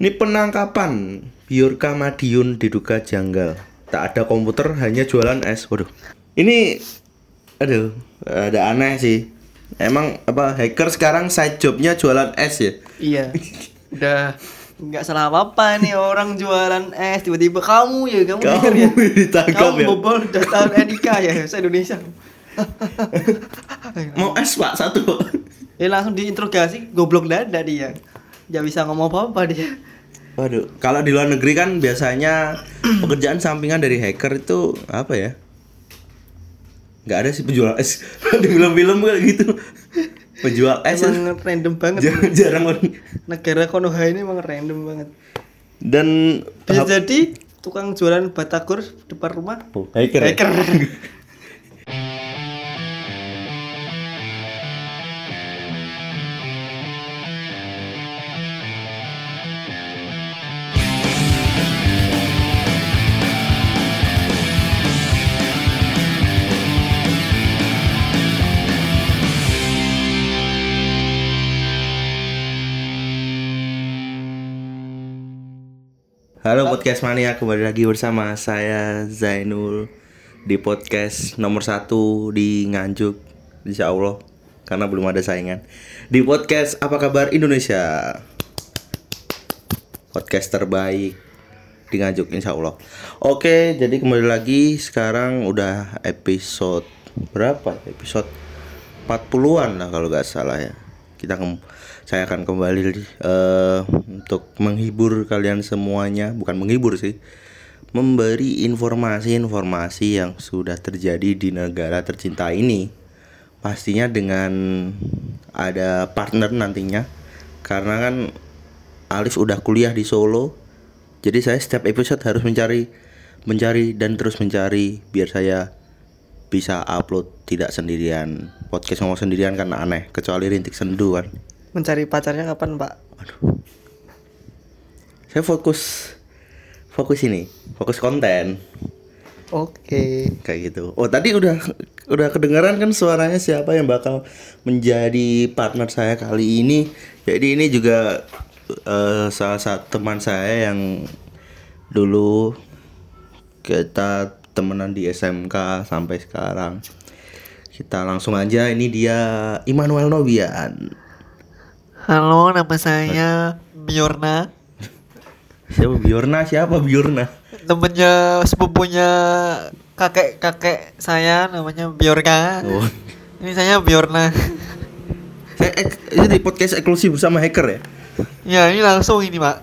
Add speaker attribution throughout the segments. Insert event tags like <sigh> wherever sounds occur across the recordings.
Speaker 1: Ini penangkapan Biorka Madiun diduga janggal. Tak ada komputer, hanya jualan es. Waduh. Ini aduh, ada aneh sih. Emang apa hacker sekarang side jobnya jualan es ya?
Speaker 2: Iya. Udah nggak salah apa-apa nih orang jualan es tiba-tiba kamu ya kamu,
Speaker 1: Kamu
Speaker 2: denger
Speaker 1: ditangkap
Speaker 2: kamu
Speaker 1: ya?
Speaker 2: bobol data Enika ya
Speaker 1: <laughs>
Speaker 2: saya Indonesia
Speaker 1: Mau es Pak satu. <laughs>
Speaker 2: ya langsung diinterogasi goblok dada dia nggak bisa ngomong apa-apa dia
Speaker 1: Waduh, kalau di luar negeri kan biasanya pekerjaan sampingan dari hacker itu apa ya? Nggak ada sih penjual es. <laughs> di film-film kayak gitu. Penjual es itu
Speaker 2: emang random banget
Speaker 1: jarang, <laughs> jarang orang.
Speaker 2: negara Konoha ini emang random banget
Speaker 1: Dan
Speaker 2: bisa jadi tukang jualan batagor depan rumah
Speaker 1: Oh, hacker. ya?
Speaker 2: hacker <laughs>
Speaker 1: Halo podcast mania kembali lagi bersama saya Zainul di podcast nomor satu di Nganjuk Insya Allah karena belum ada saingan di podcast apa kabar Indonesia podcast terbaik di Nganjuk Insya Allah oke jadi kembali lagi sekarang udah episode berapa episode 40-an lah kalau nggak salah ya kita kem- saya akan kembali eh, untuk menghibur kalian semuanya bukan menghibur sih memberi informasi-informasi yang sudah terjadi di negara tercinta ini pastinya dengan ada partner nantinya karena kan Alif udah kuliah di Solo jadi saya setiap episode harus mencari mencari dan terus mencari biar saya bisa upload tidak sendirian podcast ngomong sendirian karena aneh kecuali rintik sendu kan
Speaker 2: mencari pacarnya kapan pak
Speaker 1: saya fokus fokus ini fokus konten
Speaker 2: oke
Speaker 1: kayak gitu oh tadi udah udah kedengaran kan suaranya siapa yang bakal menjadi partner saya kali ini jadi ini juga eh, salah satu teman saya yang dulu kita temenan di SMK sampai sekarang kita langsung aja ini dia Immanuel Nobian
Speaker 2: halo nama saya Bjorna
Speaker 1: Siapa Bjorna? Siapa Bjorna?
Speaker 2: temennya sepupunya kakek kakek saya namanya Bjorka
Speaker 1: Oh.
Speaker 2: ini saya Bjorna <laughs>
Speaker 1: Saya ek- Eh, ini di podcast eksklusif bersama hacker ya.
Speaker 2: ya ini langsung ini pak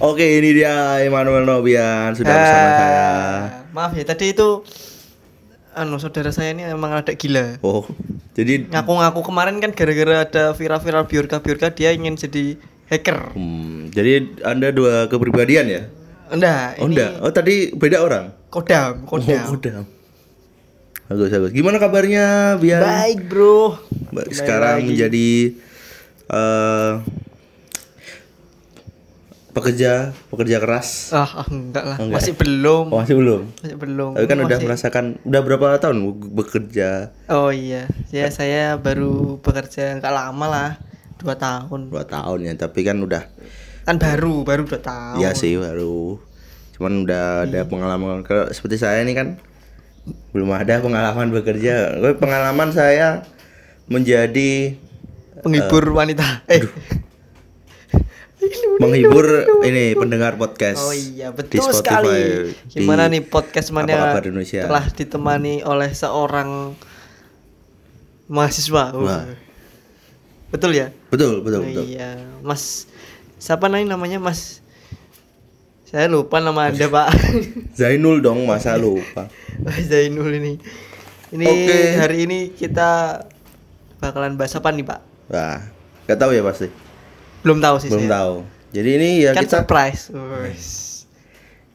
Speaker 1: Oke, ini dia Emmanuel Nobian sudah bersama
Speaker 2: Eh,
Speaker 1: saya.
Speaker 2: maaf ya tadi itu anu saudara saya ini emang ada gila
Speaker 1: Oh, jadi
Speaker 2: ngaku-ngaku kemarin kan gara-gara ada viral-viral Bjorka Bjorka dia ingin jadi hacker
Speaker 1: hmm, jadi Anda dua kepribadian ya?
Speaker 2: enggak
Speaker 1: Oh,
Speaker 2: ini
Speaker 1: enggak. Oh, tadi beda orang.
Speaker 2: kodam
Speaker 1: Oh,
Speaker 2: kodam
Speaker 1: kodam. Bagus, bagus. Gimana kabarnya, Bian?
Speaker 2: baik bro
Speaker 1: Ba-
Speaker 2: Kembali
Speaker 1: Sekarang
Speaker 2: lagi.
Speaker 1: menjadi eh pekerja pekerja keras.
Speaker 2: ah, ah, enggak lah
Speaker 1: Enggak.
Speaker 2: masih belum
Speaker 1: Oh, masih belum.
Speaker 2: masih belum
Speaker 1: Tapi kan udah
Speaker 2: Masih-
Speaker 1: merasakan udah berapa tahun bekerja?
Speaker 2: Oh iya, ya saya baru bekerja nggak lama lah, dua tahun.
Speaker 1: dua tahun ya tapi kan udah
Speaker 2: Kan baru, baru dua tahun. Hmm.
Speaker 1: iya sih baru cuman udah ada pengalaman kalau seperti saya ini kan belum ada pengalaman bekerja Tapi pengalaman saya menjadi
Speaker 2: Penghibur wanita. Eh,
Speaker 1: menghibur ini pendengar podcast
Speaker 2: oh
Speaker 1: di
Speaker 2: iya betul
Speaker 1: Spotify,
Speaker 2: sekali.
Speaker 1: di
Speaker 2: Gimana nih podcast
Speaker 1: Apa
Speaker 2: mana
Speaker 1: Kabar Indonesia.
Speaker 2: telah ditemani oleh seorang mahasiswa. Uh.
Speaker 1: Wah.
Speaker 2: Betul ya?
Speaker 1: betul betul betul
Speaker 2: Iya, Mas. Siapa nih namanya Mas? Saya lupa nama anda pak.
Speaker 1: <laughs> Zainul dong masa lupa
Speaker 2: Mas Zainul ini. Ini
Speaker 1: Oke.
Speaker 2: hari ini kita bakalan bahas apa nih, Pak?
Speaker 1: wah nggak tahu ya pasti
Speaker 2: Belum tahu sih
Speaker 1: belum
Speaker 2: saya.
Speaker 1: tahu jadi ini ya
Speaker 2: Iya, Kan
Speaker 1: kita
Speaker 2: surprise. Wes.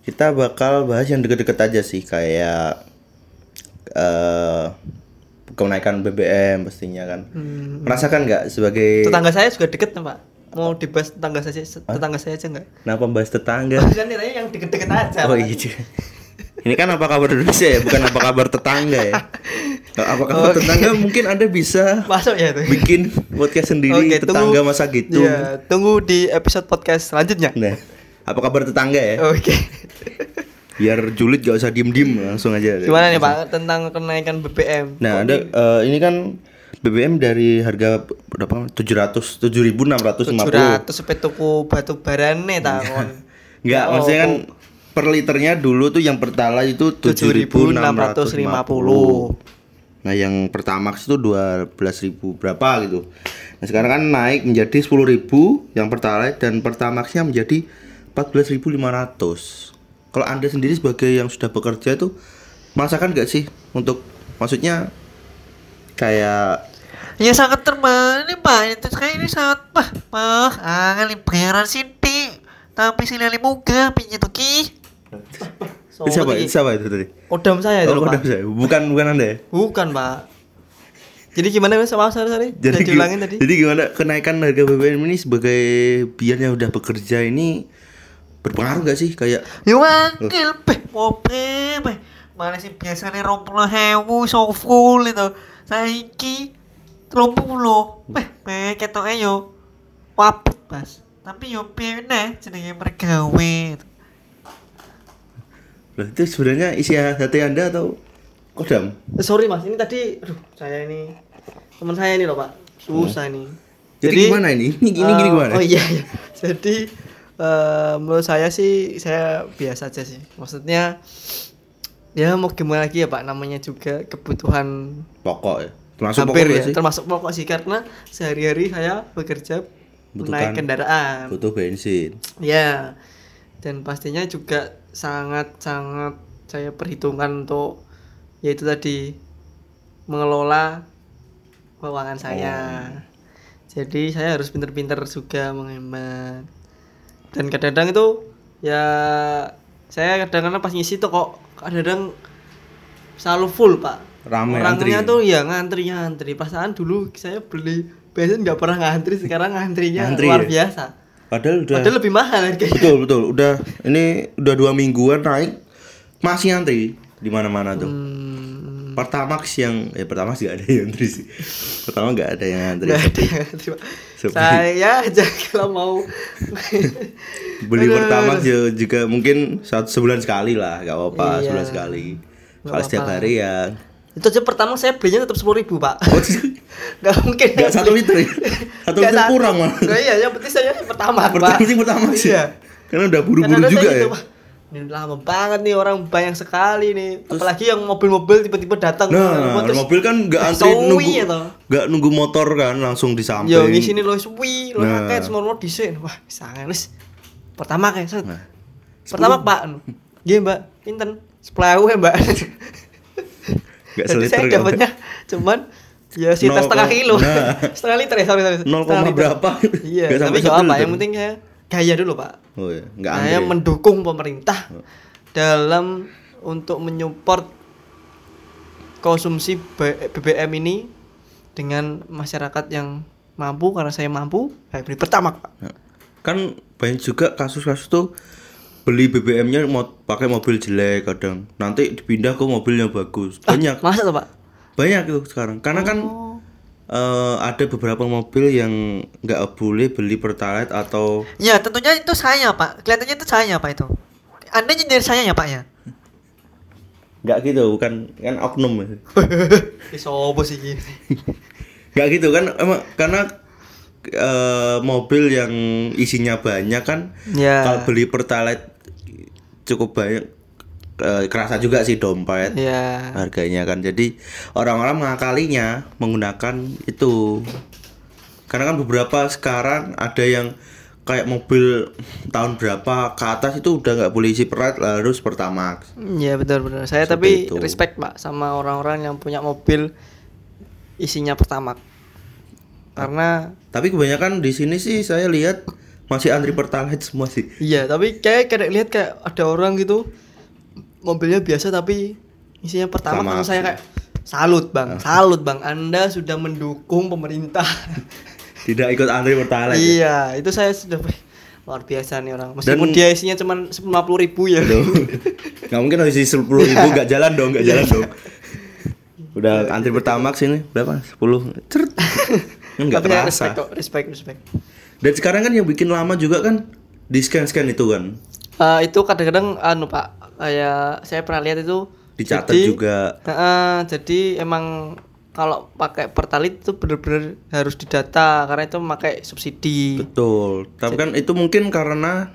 Speaker 1: kita bakal bahas yang deket-deket aja sih kayak eh kenaikan BBM pastinya kan merasakan nggak sebagai
Speaker 2: Hmm. Tetangga saya juga deket nih, Pak. Mau dibahas tetangga saya tetangga saya aja enggak?
Speaker 1: nah pembahas tetangga
Speaker 2: Bukan nih, tanya yang deket-deket aja.
Speaker 1: oh
Speaker 2: Pak.
Speaker 1: iya juga. ini kan apa kabar Indonesia ya bukan apa kabar tetangga ya Apakah
Speaker 2: Oke.
Speaker 1: tetangga mungkin Anda bisa
Speaker 2: Masuk ya itu.
Speaker 1: bikin podcast sendiri
Speaker 2: Oke,
Speaker 1: tetangga masa gitu?
Speaker 2: Iya, tunggu di episode podcast selanjutnya.
Speaker 1: Nah, apa kabar tetangga ya? <laughs>
Speaker 2: Oke.
Speaker 1: Biar julid gak usah diem-diem langsung aja.
Speaker 2: Gimana nih Pak tentang kenaikan BBM?
Speaker 1: Nah, ada eh, ini kan BBM dari harga berapa? 700 7650.
Speaker 2: 700 sampai tuku batu barane takon. Oh,
Speaker 1: Enggak, maksudnya kan per liternya dulu tuh yang Pertalite itu 7650.
Speaker 2: 7650.
Speaker 1: Nah, yang Pertamax itu 12.000 berapa gitu. Nah, sekarang kan naik menjadi 10.000 yang Pertalite dan Pertamaxnya menjadi 14.500. Kalau Anda sendiri sebagai yang sudah bekerja itu merasakan nggak sih untuk maksudnya kayak
Speaker 2: Ya sangat terman ini Pak, itu saya ini sangat mah mah angan bayaran sinti. Tapi sinali muga pinjat tuki.
Speaker 1: Eh, siapa siapa itu tadi?
Speaker 2: Odam saya Eh, itu
Speaker 1: Oh,
Speaker 2: Pak.
Speaker 1: kodam saya. Bukan bukan Anda ya?
Speaker 2: Bukan Pak. Jadi gimana Mas? Maaf sorry sorry. Jadi
Speaker 1: gi-
Speaker 2: diulangin tadi.
Speaker 1: Jadi gimana kenaikan harga BBM ini sebagai biar yang udah bekerja ini berpengaruh gak sih kayak
Speaker 2: Ya wangkel beh, mobil beh. Mana sih biasanya rompulo hewu so full itu. Saiki rompulo beh beh ketoknya yo wabut mas. Tapi yo pene jenenge mergawe.
Speaker 1: Loh, itu sebenarnya isi hati Anda atau kodam?
Speaker 2: Eh, Sorry mas, ini tadi, aduh saya ini teman saya ini loh pak, susah nih.
Speaker 1: Jadi, gimana ini? Ini gini gini
Speaker 2: Eh,
Speaker 1: gimana?
Speaker 2: Oh iya, iya. Jadi eh, menurut saya sih saya biasa aja sih. Maksudnya ya mau gimana lagi ya Pak namanya juga kebutuhan
Speaker 1: Pokok ya. Termasuk
Speaker 2: hampir
Speaker 1: pokok
Speaker 2: ya
Speaker 1: gak sih?
Speaker 2: termasuk pokok sih karena sehari-hari saya bekerja
Speaker 1: Butuhkan-
Speaker 2: naik kendaraan.
Speaker 1: Butuh bensin.
Speaker 2: Ya. Dan pastinya juga sangat-sangat saya perhitungkan untuk yaitu tadi mengelola keuangan saya.
Speaker 1: Oh.
Speaker 2: Jadi saya harus pinter-pinter juga menghemat. Dan kadang-kadang itu ya saya kadang-kadang pas ngisi tuh kok kadang-kadang selalu full pak.
Speaker 1: Ramai
Speaker 2: Orangnya
Speaker 1: antrian.
Speaker 2: tuh ya ngantri ngantri. Perasaan dulu saya beli bensin nggak pernah ngantri sekarang ngantrinya
Speaker 1: Ngantri
Speaker 2: luar
Speaker 1: ya?
Speaker 2: biasa.
Speaker 1: Padahal udah
Speaker 2: Padahal lebih mahal harganya.
Speaker 1: betul betul udah ini udah dua mingguan naik masih antri di mana-mana tuh.
Speaker 2: Hmm,
Speaker 1: Pertamax yang eh Pertamax gak ada yang antri sih. Pertama gak ada yang antri.
Speaker 2: <laughs> nggak ada yang ngantri, Pak.
Speaker 1: Iya, Sepi.
Speaker 2: Saya aja kalau
Speaker 1: <laughs>
Speaker 2: mau
Speaker 1: beli
Speaker 2: Aduh,
Speaker 1: pertama ju- juga mungkin satu sebulan sekali lah gak apa-apa
Speaker 2: Iya.
Speaker 1: sebulan sekali
Speaker 2: Nggak
Speaker 1: kalau setiap
Speaker 2: apa-apa.
Speaker 1: hari ya
Speaker 2: itu aja pertama saya belinya tetap sepuluh ribu pak
Speaker 1: Oh,
Speaker 2: <laughs> nggak mungkin
Speaker 1: nggak satu liter
Speaker 2: <laughs>
Speaker 1: ya satu
Speaker 2: Nggak
Speaker 1: liter
Speaker 2: satu.
Speaker 1: kurang mah
Speaker 2: Nggak, iya yang penting saya pertama
Speaker 1: pertama
Speaker 2: pak
Speaker 1: sih pertama sih
Speaker 2: Iya.
Speaker 1: karena udah
Speaker 2: Karena
Speaker 1: buru-buru
Speaker 2: ada
Speaker 1: juga
Speaker 2: saya
Speaker 1: ya
Speaker 2: gitu, Pak. ini lama banget nih orang banyak sekali nih apalagi yang mobil-mobil tiba-tiba datang
Speaker 1: nah
Speaker 2: Terus,
Speaker 1: mobil kan nggak antri
Speaker 2: Sowi
Speaker 1: nunggu
Speaker 2: ya, toh.
Speaker 1: nggak nunggu motor kan langsung di
Speaker 2: yo
Speaker 1: samping
Speaker 2: ngisi nih lo suwi lo
Speaker 1: Nah.
Speaker 2: kakek semua lo disen wah sangat wis pertama kayak set.
Speaker 1: Nah.
Speaker 2: pertama pak Iya mbak pinten sepuluh ya <laughs> mbak
Speaker 1: nggak
Speaker 2: Jadi
Speaker 1: seliter
Speaker 2: saya
Speaker 1: kan.
Speaker 2: dapatnya cuman ya sekitar
Speaker 1: Nol
Speaker 2: setengah
Speaker 1: koma-
Speaker 2: kilo.
Speaker 1: Nah.
Speaker 2: <laughs> setengah liter ya, sorry sorry.
Speaker 1: Nol
Speaker 2: setengah
Speaker 1: koma
Speaker 2: liter.
Speaker 1: berapa?
Speaker 2: Iya,
Speaker 1: Nggak sampai
Speaker 2: tapi gak
Speaker 1: satu
Speaker 2: apa,
Speaker 1: liter.
Speaker 2: yang penting saya gaya dulu, Pak.
Speaker 1: oh ya nggak Oh. antri
Speaker 2: Saya mendukung pemerintah dalam untuk menyupport konsumsi B- BBM ini dengan masyarakat yang mampu karena saya mampu, saya beli pertama, Pak.
Speaker 1: Nah, kan banyak juga kasus-kasus tuh beli BBM-nya mau pakai mobil jelek kadang nanti dipindah ke mobil yang bagus
Speaker 2: Ah.
Speaker 1: banyak
Speaker 2: Masa
Speaker 1: <laughs>
Speaker 2: tuh, Pak?
Speaker 1: banyak tuh sekarang karena kan eh, ada beberapa mobil yang nggak boleh beli pertalite atau
Speaker 2: Ya, tentunya itu saya, Pak. Kelihatannya itu saya, Pak itu. Anda nyindir saya ya, Pak ya?
Speaker 1: nggak gitu bukan kan oknum ya.
Speaker 2: Ih, Sobo sih gini.
Speaker 1: nggak gitu kan emang karena eh, mobil yang isinya banyak kan
Speaker 2: Ya.
Speaker 1: kalau beli pertalite cukup banyak eh, kerasa juga sih dompet
Speaker 2: Ya.
Speaker 1: harganya kan jadi orang-orang mengakalinya menggunakan itu karena kan beberapa sekarang ada yang kayak mobil tahun berapa ke atas itu udah nggak boleh isi perat harus pertamax
Speaker 2: Ya benar benar. Saya
Speaker 1: Seperti
Speaker 2: tapi
Speaker 1: itu.
Speaker 2: respect Pak sama orang-orang yang punya mobil isinya pertama. Karena
Speaker 1: tapi kebanyakan di sini sih saya lihat masih antri pertalite semua sih
Speaker 2: iya, tapi kayak kayak lihat kayak ada orang gitu mobilnya biasa tapi isinya pertama
Speaker 1: Pertamax.
Speaker 2: kalau saya kayak salut
Speaker 1: Ah.
Speaker 2: Bang, salut Bang. Anda sudah mendukung pemerintah.
Speaker 1: tidak ikut antri pertalite
Speaker 2: iya, itu saya sudah wih, luar biasa nih orang. Meskipun
Speaker 1: ya? Dan-
Speaker 2: dia isinya cuma 50 ribu ya.
Speaker 1: Tuh. nggak mungkin harus isi sepuluh ribu nggak jalan dong nggak jalan dong Udah antri pertama kesini berapa? 10. Cert. Enggak
Speaker 2: Tapi ya respect
Speaker 1: kerasa.
Speaker 2: kok, respect, respect.
Speaker 1: Dan sekarang kan yang bikin lama juga kan di scan-scan itu kan.
Speaker 2: Eh, itu kadang-kadang anu Pak, kayak saya pernah lihat itu
Speaker 1: Dicatat
Speaker 2: jadi-
Speaker 1: juga.
Speaker 2: Heeh, jadi emang kalau pakai Pertalite itu bener-bener harus didata karena itu memakai subsidi.
Speaker 1: Betul. Tapi kan itu mungkin karena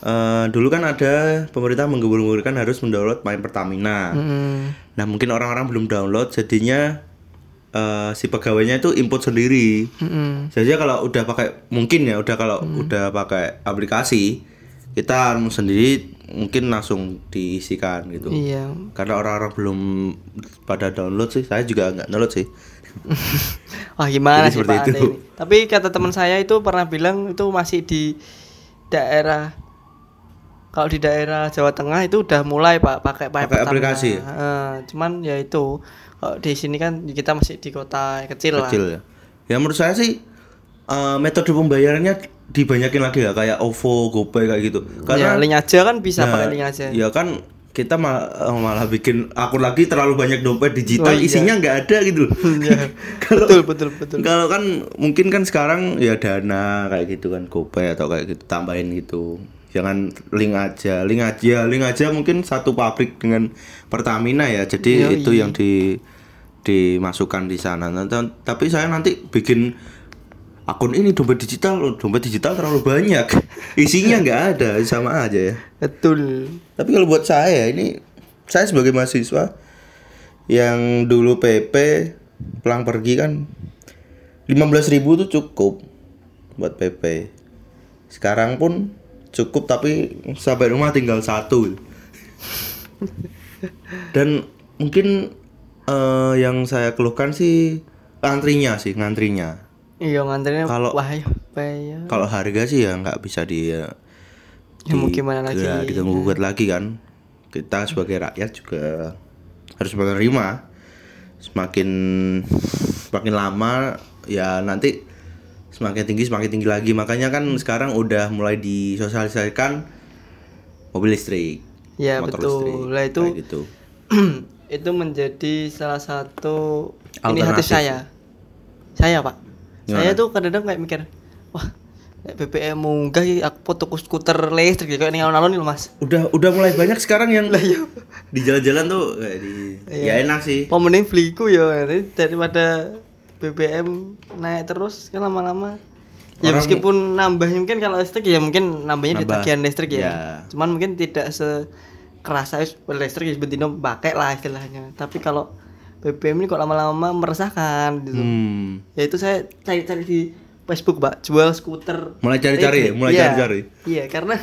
Speaker 1: eh, dulu kan ada pemerintah menggembur-gemburkan harus mendownload main Pertamina.
Speaker 2: Hmm. Mm-mm.
Speaker 1: Nah mungkin orang-orang belum download jadinya eh, si pegawainya itu input sendiri.
Speaker 2: Mm-mm.
Speaker 1: Jadi kalau udah pakai mungkin ya udah kalau
Speaker 2: Hmm.
Speaker 1: udah pakai aplikasi kita anu sendiri mungkin langsung diisikan gitu.
Speaker 2: Iya.
Speaker 1: Karena orang-orang belum pada download sih, saya juga nggak download sih.
Speaker 2: Wah, gimana
Speaker 1: Jadi
Speaker 2: sih
Speaker 1: seperti
Speaker 2: Pak
Speaker 1: itu.
Speaker 2: Anda ini? Tapi kata teman saya itu pernah bilang itu masih di daerah kalau di daerah Jawa Tengah itu udah mulai Pak pakai
Speaker 1: Pakai
Speaker 2: Pertamina.
Speaker 1: aplikasi?
Speaker 2: Heeh, cuman ya itu kalau di sini kan kita masih di kota kecil,
Speaker 1: Kecil ya. Ya menurut saya sih eh, metode pembayarannya dibanyakin lagi ya kayak OVO, GoPay kayak gitu.
Speaker 2: lah. Ya,
Speaker 1: Karena
Speaker 2: link aja kan bisa
Speaker 1: Nah,
Speaker 2: pakai link aja.
Speaker 1: Ya kan kita mal- eh, malah bikin akun lagi terlalu banyak dompet digital
Speaker 2: Oh, iya.
Speaker 1: isinya nggak ada gitu. loh. <laughs> Kalau
Speaker 2: betul, betul, betul.
Speaker 1: kalau kan mungkin kan sekarang ya dana kayak gitu kan GoPay atau kayak gitu tambahin gitu. Jangan link aja, link aja, link aja mungkin satu pabrik dengan Pertamina ya. Jadi
Speaker 2: Yoi.
Speaker 1: itu yang di dimasukkan di sana. Nah, t- tapi saya nanti bikin akun ini dompet digital, loh, dompet digital terlalu banyak. <laughs> Isinya nggak ada, sama aja ya.
Speaker 2: Betul.
Speaker 1: Tapi kalau buat saya ini saya sebagai mahasiswa yang dulu PP pulang pergi kan 15.000 tuh cukup buat PP. Sekarang pun cukup tapi sampai rumah tinggal satu. Dan mungkin eh, yang saya keluhkan sih antrinya sih, ngantrinya.
Speaker 2: Iya ngantrinya
Speaker 1: Kalau-
Speaker 2: wah ya, apa ya.
Speaker 1: Kalau harga sih ya nggak bisa di
Speaker 2: Ya, mau gimana lagi?
Speaker 1: ya, ditunggu gugat lagi kan. Kita sebagai rakyat juga harus menerima. Semakin semakin lama ya nanti semakin tinggi semakin tinggi lagi. Makanya kan sekarang udah mulai disosialisasikan mobil listrik.
Speaker 2: Ya,
Speaker 1: motor
Speaker 2: betul.
Speaker 1: listrik,
Speaker 2: Lah, itu-
Speaker 1: kayak gitu.
Speaker 2: <clears throat> itu menjadi salah satu
Speaker 1: Alternatif.
Speaker 2: inisiatif saya. Saya, Pak.
Speaker 1: Gimana?
Speaker 2: Saya tuh kadang-kadang kayak mikir, wah, kayak BBM munggah ya, aku foto ku- skuter listrik ya, kayak ning alon-alon nih, Mas.
Speaker 1: Udah udah mulai banyak sekarang yang
Speaker 2: iya.
Speaker 1: di jalan-jalan tuh kayak di ya enak sih.
Speaker 2: Apa mending beliku ya nanti daripada BBM naik terus kan lama-lama. Ya
Speaker 1: Orang-
Speaker 2: meskipun nambah mungkin kalau listrik ya mungkin nambahnya di
Speaker 1: Nambah.
Speaker 2: tagihan listrik ya.
Speaker 1: Ya.
Speaker 2: Cuman mungkin tidak sekerasa wis listrik ya bentino pakai lah istilahnya. Tapi kalau BBM ini kok lama-lama meresahkan gitu.
Speaker 1: Hmm.
Speaker 2: Ya itu saya cari-cari di Facebook, Pak, jual skuter.
Speaker 1: Mulai cari-cari ya?
Speaker 2: listrik.
Speaker 1: Mulai
Speaker 2: Iya.
Speaker 1: cari-cari?
Speaker 2: Iya, karena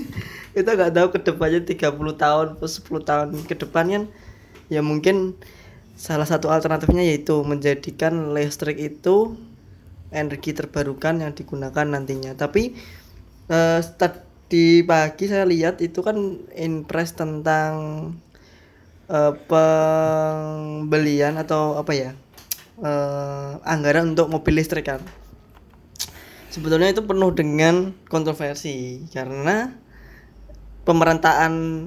Speaker 2: <laughs> kita nggak tahu ke depannya 30 tahun atau 10 tahun ke depan kan ya mungkin salah satu alternatifnya yaitu menjadikan listrik itu energi terbarukan yang digunakan nantinya. Tapi eh, tadi pagi saya lihat itu kan impres tentang eh, pembelian atau apa ya eh, anggaran untuk mobil listrik kan sebetulnya itu penuh dengan kontroversi karena pemerataan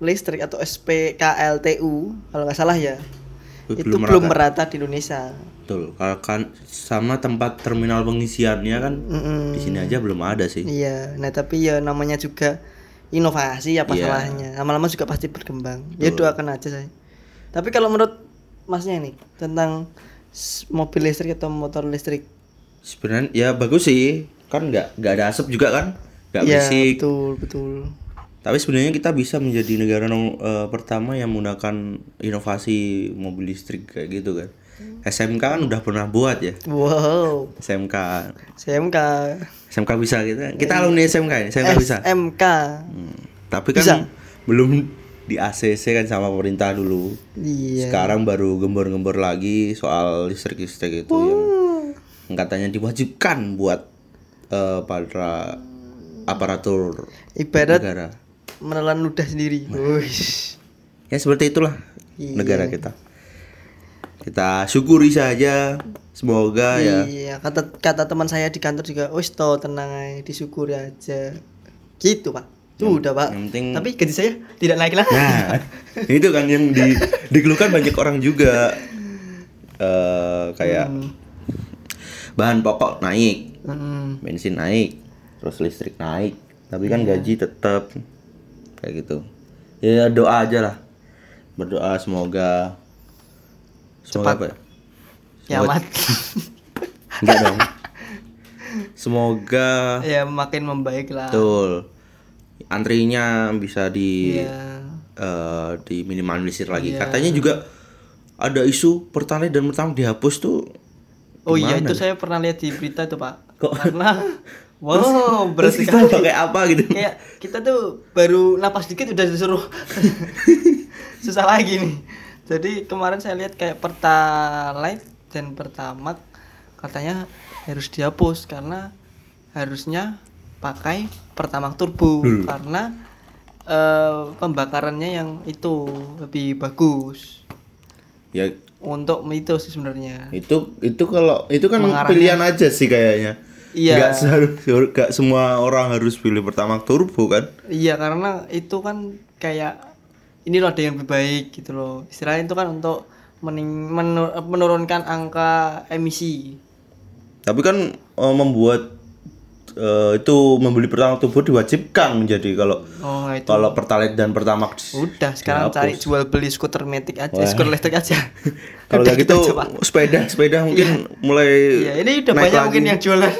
Speaker 2: listrik atau SPKLTU kalau nggak salah ya
Speaker 1: Belum
Speaker 2: itu belum merata.
Speaker 1: merata.
Speaker 2: di Indonesia
Speaker 1: Betul. Kalau kan sama tempat terminal pengisiannya kan
Speaker 2: Mm-mm.
Speaker 1: di sini aja belum ada sih.
Speaker 2: Iya, nah tapi ya namanya juga inovasi apa
Speaker 1: Iya.
Speaker 2: salahnya. Lama-lama juga pasti berkembang. Ya doakan aja saya. Tapi kalau menurut Masnya nih tentang s- mobil listrik atau motor listrik.
Speaker 1: Sebenarnya ya bagus sih. Kan nggak nggak ada asap juga kan? Nggak
Speaker 2: Iya,
Speaker 1: berisik.
Speaker 2: betul, betul.
Speaker 1: Tapi sebenarnya kita bisa menjadi negara nom- eh, pertama yang menggunakan inovasi mobil listrik kayak gitu kan.
Speaker 2: Hmm.
Speaker 1: SMK kan udah pernah buat ya.
Speaker 2: Wow,
Speaker 1: SMK.
Speaker 2: SMK.
Speaker 1: SMK bisa kita. Kita
Speaker 2: Iya.
Speaker 1: alumni SMK ya. SMK bisa.
Speaker 2: SMK.
Speaker 1: Hmm. Tapi kan
Speaker 2: Eh. Bisa.
Speaker 1: belum di ACC kan sama pemerintah dulu.
Speaker 2: Iya.
Speaker 1: Sekarang baru gembor-gembor lagi soal listrik-listrik itu yang katanya diwajibkan buat eh, para aparatur
Speaker 2: Ibarat
Speaker 1: negara. Nah.
Speaker 2: menelan ludah sendiri. Wih.
Speaker 1: Ya seperti itulah
Speaker 2: Iya.
Speaker 1: negara kita. Kita syukuri saja. Semoga ya
Speaker 2: Iya, kata kata teman saya di kantor juga, "Wis to, tenang aja, disyukuri aja." Gitu, Pak. Tuh udah pak.
Speaker 1: yang penting-
Speaker 2: Tapi gaji saya tidak naik lah.
Speaker 1: Nah, <laughs> itu kan yang di, dikeluhkan banyak orang juga. eh kayak bahan pokok naik,
Speaker 2: Hmm,
Speaker 1: bensin naik, terus listrik naik, tapi kan
Speaker 2: Iya.
Speaker 1: gaji tetap kayak gitu. Ya doa aja lah. Berdoa semoga semoga apa? ya?
Speaker 2: ya mat.
Speaker 1: <laughs>
Speaker 2: <laughs>
Speaker 1: Enggak dong. Semoga
Speaker 2: ya makin membaik lah.
Speaker 1: betul antrinya bisa di
Speaker 2: Ya.
Speaker 1: eh, diminimalisir lagi.
Speaker 2: Iya.
Speaker 1: Katanya juga ada isu pertalite dan pertama dihapus tuh
Speaker 2: Oh iya itu saya pernah lihat di berita itu pak.
Speaker 1: Kok- <laughs>
Speaker 2: Karena wow
Speaker 1: terus
Speaker 2: berarti
Speaker 1: kita pakai apa gitu.
Speaker 2: kayak kita tuh baru napas dikit udah disuruh susah lagi nih jadi kemarin saya lihat kayak pertalite dan pertamak katanya harus dihapus karena harusnya pakai pertamak turbo karena eh, pembakarannya yang itu lebih bagus
Speaker 1: Ya
Speaker 2: untuk itu sih sebenarnya
Speaker 1: itu itu kalau itu kan
Speaker 2: Mengarahnya.
Speaker 1: pilihan aja sih kayaknya.
Speaker 2: Iya.
Speaker 1: Nggak seharus- nggak semua orang harus pilih pertama turbo kan.
Speaker 2: Iya karena itu kan kayak ini loh ada yang lebih baik gitu loh. Istilahnya itu kan untuk mening- menur- menurunkan angka emisi.
Speaker 1: Tapi kan eh, membuat eh, itu membeli pertama turbo diwajibkan menjadi kalau
Speaker 2: Oh itu.
Speaker 1: kalau pertalite dan pertamax
Speaker 2: Udah sekarang cari jual beli skuter metik aja, skuter listrik aja.
Speaker 1: <laughs> kalau
Speaker 2: Udah
Speaker 1: nggak gitu
Speaker 2: aja, Pak.
Speaker 1: sepeda sepeda mungkin mulai
Speaker 2: Iya ini udah
Speaker 1: naik
Speaker 2: banyak
Speaker 1: lagi.
Speaker 2: mungkin yang
Speaker 1: <laughs>
Speaker 2: jualan.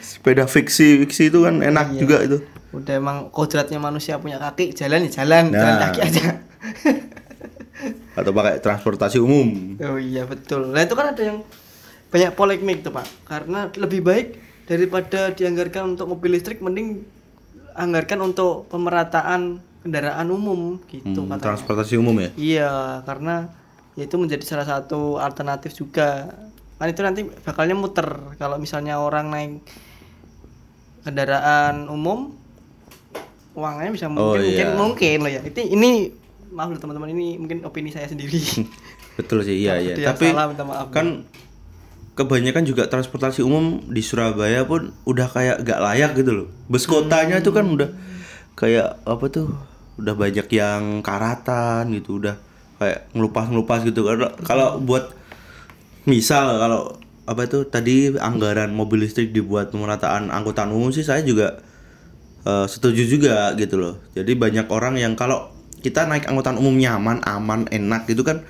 Speaker 1: sepeda fiksi fiksi itu kan
Speaker 2: Iya.
Speaker 1: enak juga itu
Speaker 2: udah emang kodratnya manusia punya kaki jalan ya jalan, jalan
Speaker 1: Nah.
Speaker 2: kaki aja.
Speaker 1: atau pakai transportasi umum
Speaker 2: Oh iya betul. Nah itu kan ada yang banyak polemik tuh pak. Karena lebih baik daripada dianggarkan untuk mobil listrik, mending anggarkan untuk pemerataan kendaraan umum gitu
Speaker 1: Hmm,
Speaker 2: katanya.
Speaker 1: transportasi umum ya
Speaker 2: Iya karena ya itu menjadi salah satu alternatif juga. Kan itu nanti bakalnya muter kalau misalnya orang naik kendaraan umum uangnya bisa
Speaker 1: Oh,
Speaker 2: mungkin mungkin
Speaker 1: iya.
Speaker 2: mungkin loh ya. Itu ini maaf loh teman-teman ini mungkin opini saya
Speaker 1: <laughs>
Speaker 2: sendiri.
Speaker 1: betul sih iya
Speaker 2: Ada
Speaker 1: iya
Speaker 2: yang
Speaker 1: tapi
Speaker 2: salah, minta maaf.
Speaker 1: kan kebanyakan juga transportasi umum di Surabaya pun udah kayak gak layak gitu loh bus kotanya itu kan
Speaker 2: Hmm.
Speaker 1: udah kayak apa tuh udah banyak yang karatan gitu udah kayak ngelupas ngelupas gitu kalau kalau
Speaker 2: Hmm.
Speaker 1: buat misal kalau apa itu tadi anggaran mobil listrik dibuat pemerataan angkutan umum sih saya juga eh, setuju juga gitu loh jadi banyak orang yang kalau kita naik angkutan umum nyaman aman enak gitu kan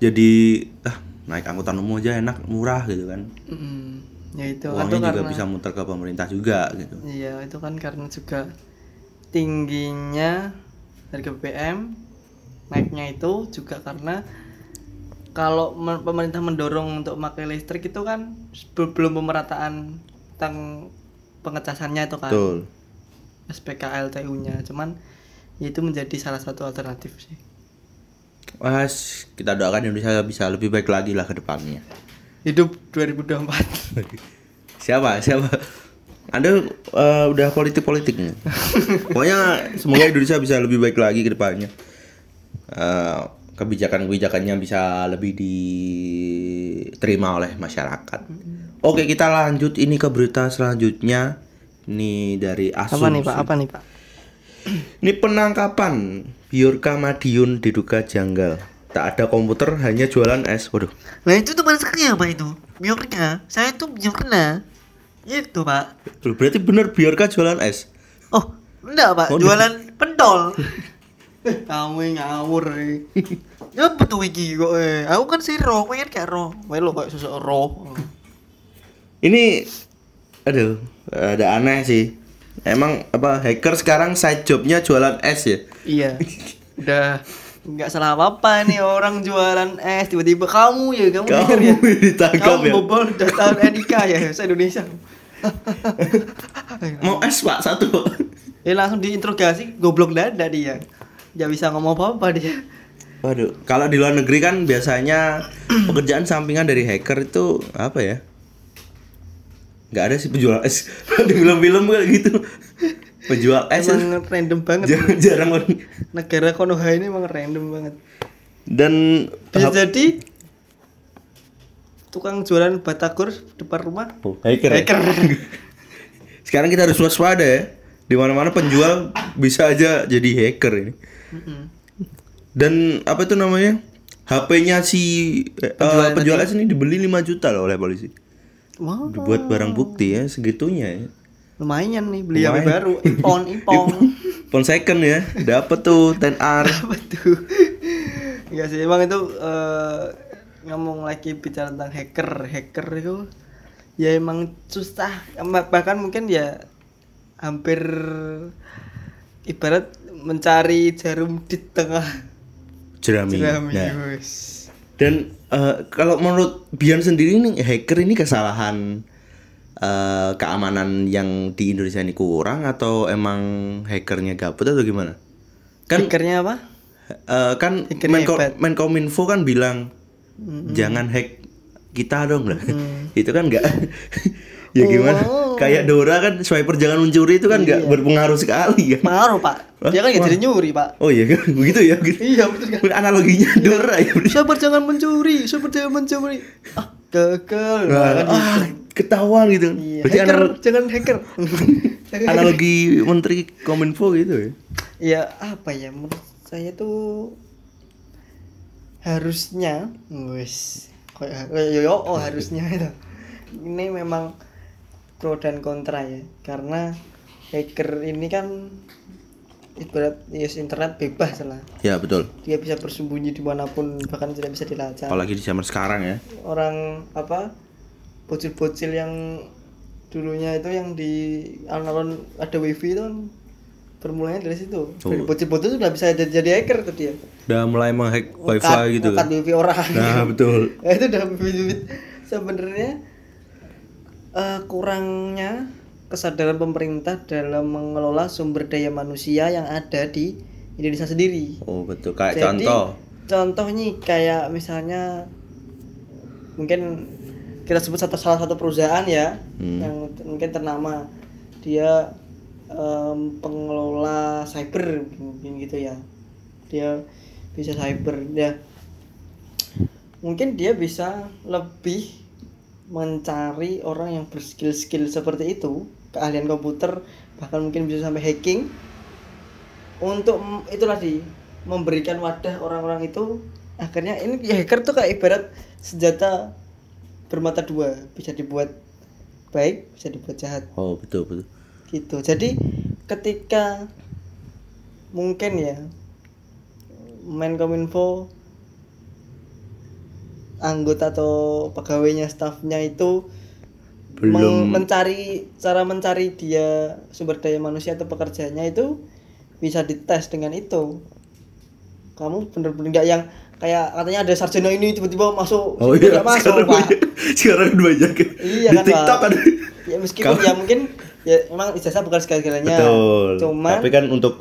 Speaker 1: jadi ah naik angkutan umum aja enak murah gitu kan
Speaker 2: Mm, ya itu kan tuh
Speaker 1: uangnya juga
Speaker 2: karena
Speaker 1: bisa muter ke pemerintah juga gitu
Speaker 2: iya itu kan karena juga tingginya harga BBM naiknya itu juga karena kalau me- pemerintah mendorong untuk pakai listrik itu kan sebelum pemerataan tentang pengecasannya itu kan
Speaker 1: betul
Speaker 2: SPKLTU-nya cuman ya itu menjadi salah satu alternatif sih
Speaker 1: Mas, kita doakan Indonesia bisa lebih baik lagi lah ke depannya.
Speaker 2: hidup
Speaker 1: <laughs>
Speaker 2: 2024
Speaker 1: Siapa? Siapa? Anda eh, udah politik-politik
Speaker 2: <laughs>
Speaker 1: nih. Pokoknya semoga Indonesia bisa lebih baik lagi ke depannya. Eh, kebijakan-kebijakannya bisa lebih diterima oleh masyarakat.
Speaker 2: Mm-hmm.
Speaker 1: Oke, kita lanjut ini ke berita selanjutnya. Ini dari
Speaker 2: apa
Speaker 1: Asun.
Speaker 2: nih pak apa nih pak
Speaker 1: Ini penangkapan Biorka Madiun diduga janggal. Tak ada komputer, hanya jualan es. Waduh.
Speaker 2: Nah itu teman saya pak itu Biorka Saya itu Biorka Itu pak
Speaker 1: Loh, berarti bener Biorka jualan es.
Speaker 2: Oh enggak pak
Speaker 1: Oh, enggak.
Speaker 2: Jualan pentol <laughs> Eh, Kamu ngawur eh. Ya betul iki kok eh. Aku kan si roh Pengen kayak roh Pengen lo kayak susuk roh
Speaker 1: Ini aduh, ada aneh sih. Emang apa hacker sekarang side jobnya jualan es ya?
Speaker 2: Iya Udah nggak salah apa-apa nih orang jualan es Tiba-tiba kamu ya Kamu,
Speaker 1: Kamu
Speaker 2: hacker ya.
Speaker 1: <laughs> ditangkap
Speaker 2: Kamu
Speaker 1: ya?
Speaker 2: bobol udah tahun NIK ya Saya
Speaker 1: <laughs>
Speaker 2: Indonesia
Speaker 1: Mau es Pak satu.
Speaker 2: Ya langsung diinterogasi Goblok dada dia Gak bisa ngomong apa-apa dia
Speaker 1: <laughs> Waduh, kalau di luar negeri kan biasanya pekerjaan sampingan dari hacker itu apa ya? Nggak ada sih penjual es. <laughs> di film-film kayak gitu. Penjual es itu <laughs>
Speaker 2: emang random banget
Speaker 1: jarang, jarang orang-
Speaker 2: negara Konoha ini emang random banget
Speaker 1: Dan
Speaker 2: bisa jadi tukang jualan batagor depan rumah Eh,
Speaker 1: Oh, hacker. ya? <laughs>
Speaker 2: hacker
Speaker 1: Sekarang kita harus waspada ya. di mana-mana penjual bisa aja jadi hacker ini.
Speaker 2: Mm-mm.
Speaker 1: Dan apa itu namanya? HP-nya si eh,
Speaker 2: Penjualan
Speaker 1: penjualnya sini dibeli 5 juta loh oleh polisi.
Speaker 2: Wah,
Speaker 1: Dibuat barang bukti ya segitunya ya.
Speaker 2: lumayan nih beli HP
Speaker 1: Lumayan.
Speaker 2: baru,
Speaker 1: <laughs>
Speaker 2: iPhone, iPhone.
Speaker 1: Phone second ya, dapat tuh 10R.
Speaker 2: Apa tuh? Enggak sih, emang itu eh, ngomong lagi bicara tentang hacker, hacker itu ya emang susah, Em- bahkan mungkin ya hampir ibarat mencari jarum di tengah
Speaker 1: Jerami.
Speaker 2: jerami.
Speaker 1: Nah,
Speaker 2: wes.
Speaker 1: Dan eh, kalau menurut Bian sendiri nih hacker ini kesalahan eh, keamanan yang di Indonesia ini kurang atau emang hackernya gabut atau gimana? Kan
Speaker 2: Hackernya apa?
Speaker 1: eh, kan
Speaker 2: Hackernya
Speaker 1: Menko,
Speaker 2: hebat.
Speaker 1: Menkominfo kan bilang jangan hack kita dong lah.
Speaker 2: Mm.
Speaker 1: <laughs> itu kan enggak ya gimana?
Speaker 2: Wow.
Speaker 1: Kayak Dora kan swiper jangan mencuri itu kan
Speaker 2: Iya.
Speaker 1: enggak berpengaruh sekali kan.
Speaker 2: Pengaruh, Pak. Dia kan nggak jadi nyuri, Pak.
Speaker 1: Oh iya kan <laughs> begitu ya begitu.
Speaker 2: Iya, betul Iya. kan?
Speaker 1: Analoginya Dora ya.
Speaker 2: Sabar jangan mencuri, sabar jangan mencuri. Ah, gagal. Nah, kan gitu.
Speaker 1: Ah, ketahuan gitu.
Speaker 2: Iya.
Speaker 1: Berarti
Speaker 2: hacker,
Speaker 1: anal-
Speaker 2: jangan hacker. <laughs> Jangan-
Speaker 1: <laughs> analogi menteri kominfo gitu ya
Speaker 2: ya apa ya menurut saya tuh harusnya wes kayak kayak yo yo, oh harusnya itu. Ini memang pro dan kontra ya karena hacker ini kan ibarat yes internet bebas lah
Speaker 1: ya betul
Speaker 2: dia bisa bersembunyi dimanapun bahkan tidak bisa dilacak
Speaker 1: apalagi di zaman sekarang ya
Speaker 2: orang apa bocil-bocil yang dulunya itu yang di alun-alun ada wifi itu kan bermulanya dari situ
Speaker 1: Oh.
Speaker 2: dari bocil-bocil sudah bisa jadi, jadi hacker tuh dia
Speaker 1: udah mulai menghack
Speaker 2: Ngekat-
Speaker 1: wifi gitu
Speaker 2: ngekat
Speaker 1: kan
Speaker 2: wifi orang <laughs>
Speaker 1: nah betul
Speaker 2: Nah, itu udah bibit-bibit sebenarnya eh, kurangnya kesadaran pemerintah dalam mengelola sumber daya manusia yang ada di Indonesia sendiri
Speaker 1: oh betul kayak
Speaker 2: jadi,
Speaker 1: contoh
Speaker 2: contoh nih kayak misalnya mungkin kita sebut satu salah satu perusahaan ya
Speaker 1: Hmm.
Speaker 2: yang t- mungkin ternama dia em, pengelola cyber mungkin gitu ya dia bisa cyber ya mungkin dia bisa lebih mencari orang yang berskill-skill seperti itu keahlian komputer bahkan mungkin bisa sampai hacking untuk m- itu tadi memberikan wadah orang-orang itu akhirnya ini ya hacker tuh kayak ibarat senjata bermata dua bisa dibuat baik bisa dibuat jahat
Speaker 1: oh betul betul
Speaker 2: gitu jadi ketika mungkin ya Menkominfo anggota atau pegawainya stafnya itu meng-
Speaker 1: belum
Speaker 2: mencari cara mencari dia sumber daya manusia atau pekerjanya itu bisa dites dengan itu kamu bener-bener nggak yang kayak katanya ada sarjana ini tiba-tiba masuk
Speaker 1: oh
Speaker 2: tiba-tiba
Speaker 1: iya
Speaker 2: nggak masuk
Speaker 1: sekarang
Speaker 2: pak
Speaker 1: banyak sekarang banyak ya.
Speaker 2: Iya
Speaker 1: di
Speaker 2: kan,
Speaker 1: tiktok
Speaker 2: Pak.
Speaker 1: ada
Speaker 2: ya meskipun
Speaker 1: Kamu-
Speaker 2: ya mungkin ya emang ijazah bukan segala-galanya
Speaker 1: betul
Speaker 2: cuman
Speaker 1: tapi kan untuk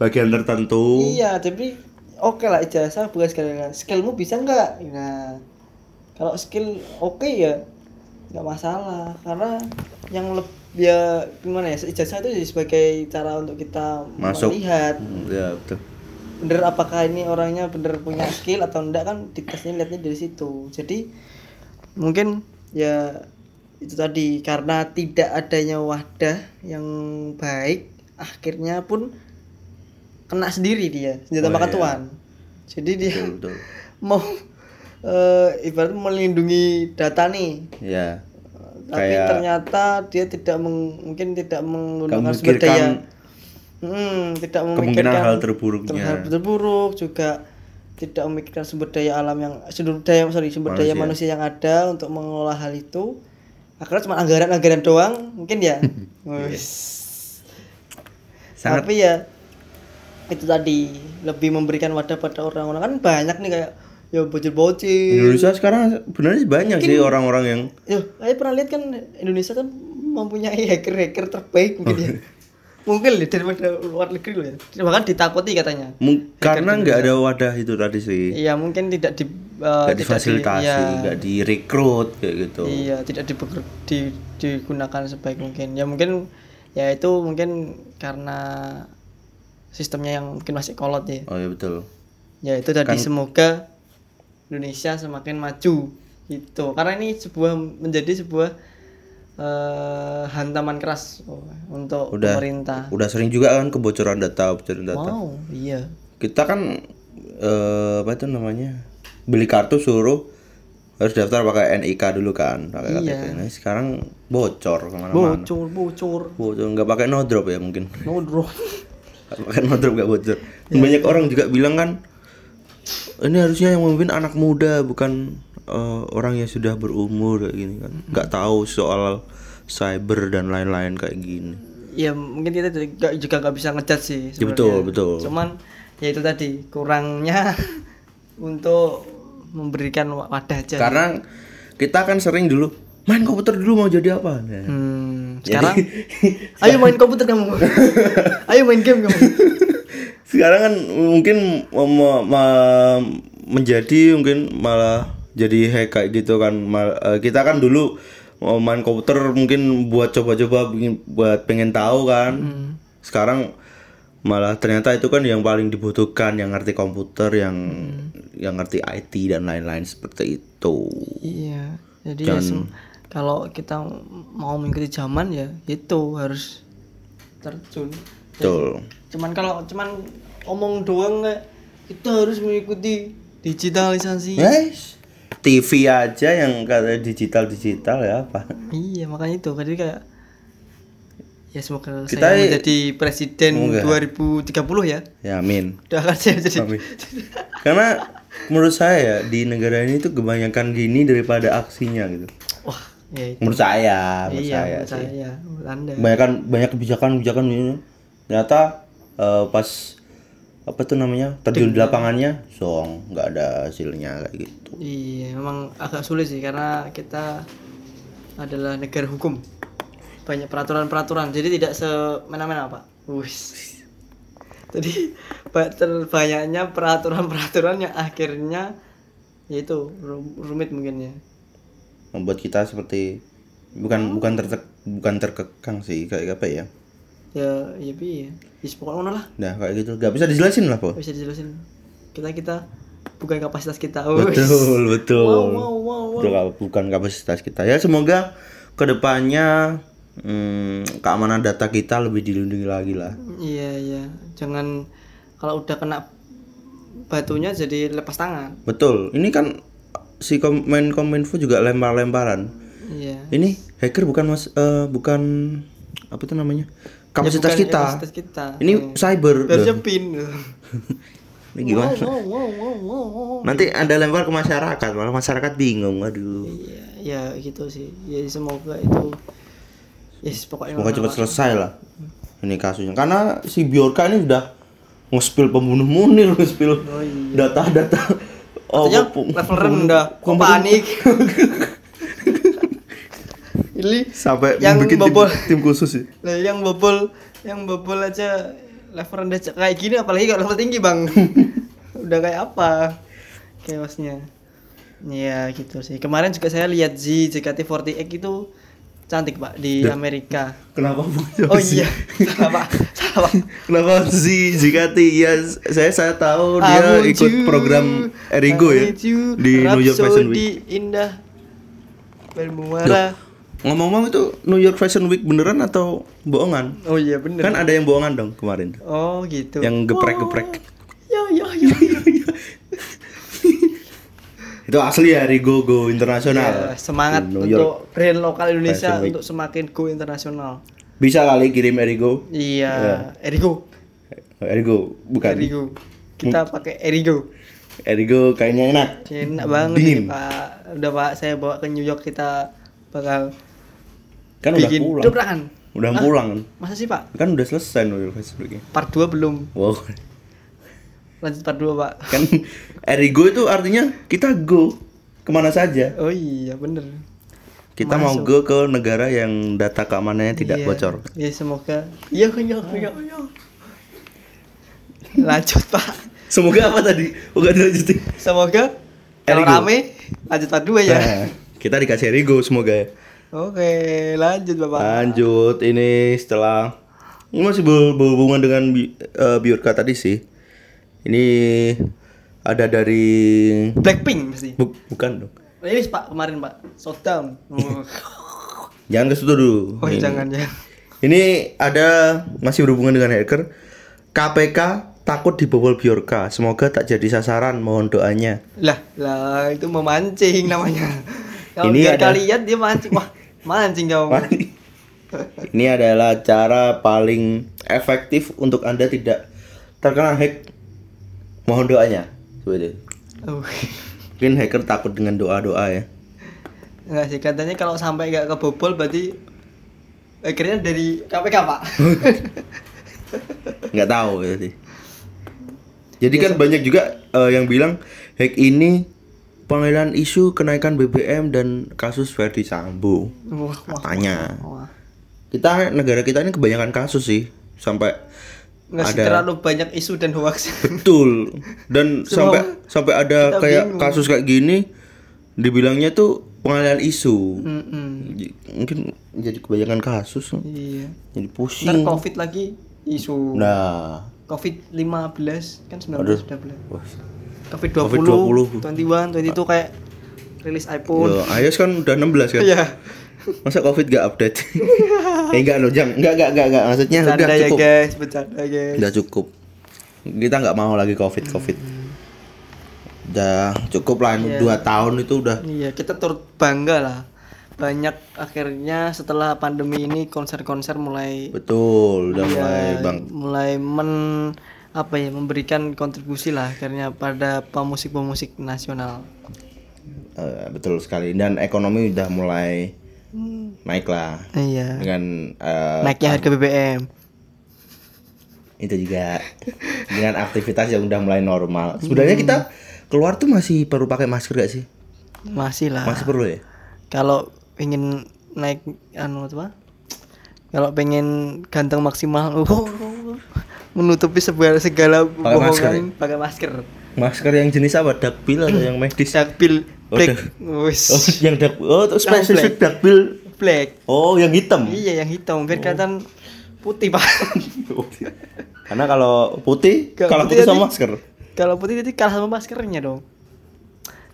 Speaker 1: bagian tertentu
Speaker 2: iya tapi oke lah ijazah bukan segala-galanya skillmu bisa nggak nah kalau skill oke ya nggak masalah karena yang lebih ya gimana ya ijazah itu jadi sebagai cara untuk kita
Speaker 1: Masuk.
Speaker 2: melihat
Speaker 1: ya betul
Speaker 2: bener apakah ini orangnya bener punya skill atau enggak kan ditesnya lihatnya dari situ jadi mungkin ya itu tadi karena tidak adanya wadah yang baik akhirnya pun kena sendiri dia senjata
Speaker 1: Oh,
Speaker 2: makan
Speaker 1: iya.
Speaker 2: tuan jadi dia
Speaker 1: betul betul
Speaker 2: <laughs> mau eh, ibarat melindungi data nih
Speaker 1: ya
Speaker 2: tapi
Speaker 1: Kayak-
Speaker 2: ternyata dia tidak meng- mungkin tidak menggunakan sumber daya
Speaker 1: memikirkan
Speaker 2: Hmm, tidak
Speaker 1: kemungkinan
Speaker 2: memikirkan
Speaker 1: hal terburuknya
Speaker 2: terhadap terburuk juga tidak memikirkan sumber daya alam yang sumber daya sorry sumber daya manusia yang ada untuk mengelola hal itu akhirnya cuma anggaran-anggaran doang mungkin
Speaker 1: <laughs>
Speaker 2: ya Wes.
Speaker 1: Sangat-
Speaker 2: tapi ya itu tadi lebih memberikan wadah pada orang-orang kan banyak nih kayak ya bocil-bocil
Speaker 1: Indonesia sekarang sebenarnya banyak sih orang-orang yang
Speaker 2: Yo, saya pernah lihat kan Indonesia kan mempunyai hacker-hacker terbaik mungkin
Speaker 1: Oh, iya.
Speaker 2: ya mungkin loh, daripada luar negeri loh ya bahkan ditakuti katanya
Speaker 1: Mung- karena nggak ada wadah itu tadi sih
Speaker 2: Iya mungkin tidak di eh,
Speaker 1: nggak
Speaker 2: tidak
Speaker 1: difasilitasi
Speaker 2: Di,
Speaker 1: nggak direkrut kayak gitu
Speaker 2: iya, iya, tidak dipeker- di- digunakan sebaik mungkin. Ya mungkin ya itu mungkin karena sistemnya yang mungkin masih kolot ya.
Speaker 1: oh iya betul
Speaker 2: Ya itu tadi
Speaker 1: Kan-
Speaker 2: semoga Indonesia semakin maju gitu. Karena ini sebuah menjadi sebuah eh, hantaman keras untuk
Speaker 1: Udah.
Speaker 2: pemerintah.
Speaker 1: Udah sering juga kan kebocoran data, kebocoran data.
Speaker 2: Wow, iya.
Speaker 1: Kita kan eh, apa itu namanya? Beli kartu suruh harus daftar pakai NIK dulu kan, pakai KTP.
Speaker 2: Iya.
Speaker 1: Nah, sekarang bocor kemana-mana.
Speaker 2: Bocor, bocor.
Speaker 1: Bocor nggak pakai no drop ya mungkin.
Speaker 2: No bro.
Speaker 1: Nggak Pakai no drop nggak bocor.
Speaker 2: Iya.
Speaker 1: Banyak orang juga bilang kan ini harusnya yang memimpin anak muda bukan eh, orang yang sudah berumur kayak gini kan.
Speaker 2: Hmm.
Speaker 1: Nggak tahu soal cyber dan lain-lain kayak gini.
Speaker 2: ya mungkin kita juga juga nggak bisa ngejat sih.
Speaker 1: Ya, betul,
Speaker 2: sebenarnya.
Speaker 1: betul.
Speaker 2: Cuman ya itu tadi kurangnya <laughs> untuk memberikan wa- wadah aja.
Speaker 1: Karena kita kan sering dulu main komputer dulu mau jadi apa. Nah,
Speaker 2: Hmm,
Speaker 1: <laughs>
Speaker 2: sekarang ayo main komputer kamu. ayo main game kamu.
Speaker 1: Sekarang kan mungkin me- me- me- menjadi mungkin malah jadi hack kayak gitu kan. Mal- eh, kita kan dulu mau main komputer mungkin buat coba-coba bikin- buat pengen tahu kan. Sekarang malah ternyata itu kan yang paling dibutuhkan yang ngerti komputer, yang yang ngerti IT dan lain-lain seperti itu.
Speaker 2: Iya. Jadi ya sem- kalau kita mau mengikuti zaman ya itu harus terjun.
Speaker 1: Betul.
Speaker 2: Cuman kalau cuman omong doang nggak, kita harus mengikuti digitalisasi.
Speaker 1: Guys, TV aja yang katanya digital-digital ya apa?
Speaker 2: Iya makanya itu jadi kayak ya semoga
Speaker 1: Kita
Speaker 2: saya
Speaker 1: i-
Speaker 2: menjadi presiden
Speaker 1: Semoga.
Speaker 2: 2030 ya
Speaker 1: Ya amin.
Speaker 2: doakan saya jadi
Speaker 1: Amin. Karena menurut saya ya, di negara ini tuh kebanyakan gini daripada aksinya gitu.
Speaker 2: wah ya itu
Speaker 1: Menurut saya, menurut
Speaker 2: iya
Speaker 1: saya.
Speaker 2: menurut saya ya menurut anda
Speaker 1: Kebanyakan banyak kebijakan-kebijakan ini ternyata eh, pas apa tuh namanya terjun di lapangannya song nggak ada hasilnya kayak gitu
Speaker 2: iya memang agak sulit sih karena kita adalah negara hukum banyak peraturan-peraturan jadi tidak semena-mena pak Wis. jadi ba- terbanyaknya peraturan-peraturan yang akhirnya yaitu rumit mungkin ya
Speaker 1: membuat kita seperti bukan bukan tertek- bukan terkekang sih kayak apa ya
Speaker 2: ya ya piye ya pokoknya ngono lah
Speaker 1: nah kayak gitu nggak bisa dijelasin lah po
Speaker 2: bisa dijelasin kita kita bukan kapasitas kita oh,
Speaker 1: betul betul
Speaker 2: wow wow wow, wow.
Speaker 1: Betul, kap- bukan kapasitas kita ya semoga kedepannya hmm, keamanan data kita lebih dilindungi lagi lah
Speaker 2: iya iya jangan kalau udah kena batunya jadi lepas tangan
Speaker 1: betul ini kan si komen kominfo juga lempar-lemparan
Speaker 2: iya
Speaker 1: ini hacker bukan mas eh, bukan apa itu namanya kapasitas
Speaker 2: Ya, Bukan
Speaker 1: kita
Speaker 2: kapasitas kita Iya.
Speaker 1: ini cyber
Speaker 2: harusnya
Speaker 1: Duh,
Speaker 2: pin
Speaker 1: ini gimana
Speaker 2: Oh, wow wow wow wow, wow.
Speaker 1: nanti anda lempar ke masyarakat malah masyarakat bingung aduh
Speaker 2: iya ya gitu sih ya semoga itu yes pokoknya
Speaker 1: Semoga cepat selesai lah ini kasusnya karena si Bjorka ini udah nge-spill pembunuh Munir, nge-spill
Speaker 2: Oh iya.
Speaker 1: data-data oh,
Speaker 2: Katanya
Speaker 1: pem-
Speaker 2: level rendah kok
Speaker 1: <laughs>
Speaker 2: panik ini
Speaker 1: sampai
Speaker 2: Yang
Speaker 1: bikin tim,
Speaker 2: bobol.
Speaker 1: tim khusus sih.
Speaker 2: Lah yang bobol, yang bobol aja level rendah aja kayak gini apalagi kalau level tinggi,
Speaker 1: <laughs>
Speaker 2: Bang. Udah kayak apa? Chaosnya. Iya gitu sih. Kemarin juga saya lihat Z JKT48 itu cantik, Pak, di Amerika.
Speaker 1: Kenapa <laughs> bocor
Speaker 2: Oh
Speaker 1: sih?
Speaker 2: iya, salah, Pak. Salah, Pak.
Speaker 1: <laughs> Kenapa si Jikati? Ya saya saya tahu Oh, dia
Speaker 2: I want
Speaker 1: ikut
Speaker 2: you,
Speaker 1: program Erigo
Speaker 2: I
Speaker 1: ya
Speaker 2: need you,
Speaker 1: di New York Fashion Week.
Speaker 2: Rhapsody Indah Bermuara.
Speaker 1: Ngomong-ngomong itu New York Fashion Week beneran atau bohongan?
Speaker 2: Oh iya bener.
Speaker 1: Kan ada yang bohongan dong kemarin.
Speaker 2: Oh gitu.
Speaker 1: Yang geprek-geprek.
Speaker 2: Ya ya
Speaker 1: <laughs>
Speaker 2: ya ya.
Speaker 1: Itu asli ya Erigo Go
Speaker 2: Ya,
Speaker 1: Internasional.
Speaker 2: semangat
Speaker 1: Di New York.
Speaker 2: untuk brand lokal Indonesia
Speaker 1: Fashion Week.
Speaker 2: untuk semakin go internasional.
Speaker 1: Bisa kali kirim Erigo.
Speaker 2: Iya, Erigo,
Speaker 1: Erigo bukan. Erigo,
Speaker 2: Erigo. Kita
Speaker 1: Hmm.
Speaker 2: pakai Erigo.
Speaker 1: kayaknya enak.
Speaker 2: Enak banget
Speaker 1: Dingin.
Speaker 2: nih, Pak. Udah Pak, saya bawa ke New York kita bakal
Speaker 1: Kan
Speaker 2: bikin
Speaker 1: udah pulang.
Speaker 2: dobrakan.
Speaker 1: Udah pulang kan.
Speaker 2: Masa sih, Pak?
Speaker 1: Kan udah selesai New York Fashion Week.
Speaker 2: Part 2 belum.
Speaker 1: Wow. <laughs>
Speaker 2: Lanjut part 2, Pak.
Speaker 1: Kan Erigo itu artinya kita go kemana saja.
Speaker 2: Oh iya, bener.
Speaker 1: Kita mau go ke negara yang data keamanannya tidak
Speaker 2: Iya.
Speaker 1: bocor.
Speaker 2: Ya, semoga. Iya, iya, iya, iya. Lanjut, Pak.
Speaker 1: Semoga apa tadi? Enggak dilanjutin.
Speaker 2: Semoga kalau
Speaker 1: Erigo.
Speaker 2: rame lanjut part 2 ya.
Speaker 1: Nah, kita dikasih Erigo semoga ya.
Speaker 2: Oke, lanjut Bapak.
Speaker 1: Lanjut ini setelah ini masih ber- berhubungan dengan bi- eh, Biorka tadi sih. Ini ada dari
Speaker 2: Blackpink pasti.
Speaker 1: Bu- bukan dong.
Speaker 2: Rilis Pak kemarin Pak. Sodam.
Speaker 1: Jangan ke situ dulu.
Speaker 2: Oh
Speaker 1: Ini-
Speaker 2: jangan ya.
Speaker 1: Ini ada masih berhubungan dengan hacker. KPK takut dibobol Bjorka. Semoga tak jadi sasaran. Mohon doanya.
Speaker 2: Lah, lah itu memancing namanya. <laughs> Kalau
Speaker 1: Ini
Speaker 2: biar
Speaker 1: ada-
Speaker 2: kalian dia mancing. Wah, mancing kamu.
Speaker 1: <laughs> Ini adalah cara paling efektif untuk Anda tidak terkena hack. Mohon doanya. Seperti itu.
Speaker 2: Uh,
Speaker 1: Mungkin hacker takut dengan doa-doa ya.
Speaker 2: Nggak sih katanya kalau sampai nggak kebobol berarti akhirnya dari KPK
Speaker 1: <laughs>
Speaker 2: pak.
Speaker 1: Nggak tahu ya sih. Jadi kan banyak juga eh, yang bilang hack ini pengalihan isu kenaikan BBM dan kasus Verdi Sambo.
Speaker 2: wah, wah,
Speaker 1: Katanya.
Speaker 2: wah.
Speaker 1: Kita negara kita ini kebanyakan kasus sih sampai
Speaker 2: Nggak sih,
Speaker 1: Ada-
Speaker 2: terlalu banyak isu dan hoax.
Speaker 1: betul
Speaker 2: <laughs>
Speaker 1: dan sampai sampai ada
Speaker 2: kita
Speaker 1: kayak
Speaker 2: bingung.
Speaker 1: kasus kayak gini dibilangnya tuh pengalihan isu.
Speaker 2: Hmm. Mm-mm.
Speaker 1: J- Mungkin jadi kebanyakan kasus
Speaker 2: Iya.
Speaker 1: jadi
Speaker 2: Ntar
Speaker 1: pusing.
Speaker 2: COVID lagi isu.
Speaker 1: Nah,
Speaker 2: COVID 15 kan 19 sudah belas.
Speaker 1: wah.
Speaker 2: COVID
Speaker 1: 20.
Speaker 2: 20, 21, 22 kayak rilis iPhone.
Speaker 1: Yo, iOS kan udah 16 kan.
Speaker 2: Iya.
Speaker 1: Masa Covid gak
Speaker 2: <laughs>
Speaker 1: update? eh enggak loh, jangan. Enggak, enggak, enggak, enggak. Maksudnya
Speaker 2: Bercanda
Speaker 1: udah
Speaker 2: ya
Speaker 1: cukup. Iya.
Speaker 2: guys, bercanda guys.
Speaker 1: Udah cukup. Kita nggak mau lagi Covid,
Speaker 2: Hmm.
Speaker 1: Covid. Udah cukup lah dua tahun itu udah
Speaker 2: Iya, kita turut bangga lah. Banyak akhirnya setelah pandemi ini konser-konser mulai iya,
Speaker 1: betul, udah mulai bang.
Speaker 2: mulai men apa ya memberikan kontribusi lah akhirnya pada pemusik-pemusik nasional.
Speaker 1: Eh, betul sekali dan ekonomi udah mulai
Speaker 2: Hmm.
Speaker 1: naik lah
Speaker 2: Iya.
Speaker 1: dengan eh,
Speaker 2: Naiknya harga BBM.
Speaker 1: itu
Speaker 2: <laughs>
Speaker 1: juga dengan aktivitas yang udah mulai normal. Sebenarnya
Speaker 2: Hmm.
Speaker 1: kita keluar tuh masih perlu pakai masker gak sih?
Speaker 2: Masih lah.
Speaker 1: Masih perlu ya?
Speaker 2: Kalau ingin naik anu apa? Kalau pengen ganteng maksimal <laughs> oh, menutupi segala segala
Speaker 1: masker ya?
Speaker 2: kebohongan pakai masker.
Speaker 1: Masker yang jenis apa? Dakbil atau yang medis?
Speaker 2: Dakbil black
Speaker 1: Oh,
Speaker 2: wis
Speaker 1: yang dark oh itu spesifik dark bill.
Speaker 2: black.
Speaker 1: Oh, yang hitam.
Speaker 2: Iya yang hitam biar kelihatan putih pak. <laughs>
Speaker 1: Oh. Karena kalau putih,
Speaker 2: Kalau
Speaker 1: kalau
Speaker 2: putih
Speaker 1: putih sama
Speaker 2: nanti-
Speaker 1: masker.
Speaker 2: Kalau putih nanti kalah sama maskernya dong.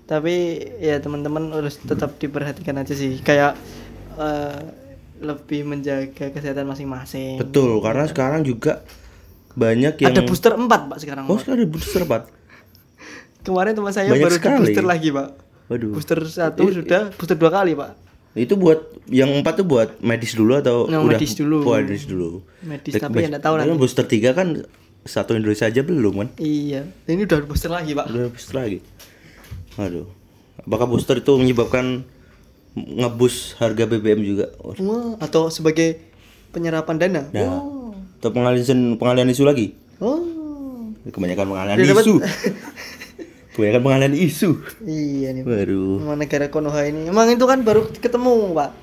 Speaker 2: Tapi ya teman-teman harus tetap diperhatikan aja sih kayak eh, lebih menjaga kesehatan masing-masing.
Speaker 1: Betul, karena sekarang juga banyak yang
Speaker 2: Ada booster 4 pak sekarang.
Speaker 1: Oh,
Speaker 2: Pak.
Speaker 1: sekarang ada booster, Pak.
Speaker 2: Kemarin teman saya
Speaker 1: Banyak
Speaker 2: baru di
Speaker 1: sekali.
Speaker 2: booster lagi pak.
Speaker 1: Waduh.
Speaker 2: Booster satu sudah, booster dua kali pak.
Speaker 1: Itu buat yang empat tuh buat medis dulu atau
Speaker 2: Yang
Speaker 1: udah
Speaker 2: medis dulu.
Speaker 1: Oh, medis dulu.
Speaker 2: Medis tapi ya nggak tahu
Speaker 1: Tapi
Speaker 2: nanti.
Speaker 1: booster tiga kan satu Indonesia aja belum kan?
Speaker 2: Iya, ini udah booster lagi pak.
Speaker 1: Udah booster lagi. Aduh. Apakah booster itu menyebabkan ngebus harga BBM juga? Oh,
Speaker 2: Wah, atau sebagai penyerapan dana.
Speaker 1: Nah, atau pengalihan pengalihan isu lagi?
Speaker 2: Oh,
Speaker 1: Kebanyakan pengalihan
Speaker 2: Dia Ya, dapat-
Speaker 1: isu. Kebanyakan pengalihan isu.
Speaker 2: <laughs> iya nih.
Speaker 1: Waduh. <laughs>
Speaker 2: Sama negara Konoha ini. Emang itu kan baru ketemu, Pak.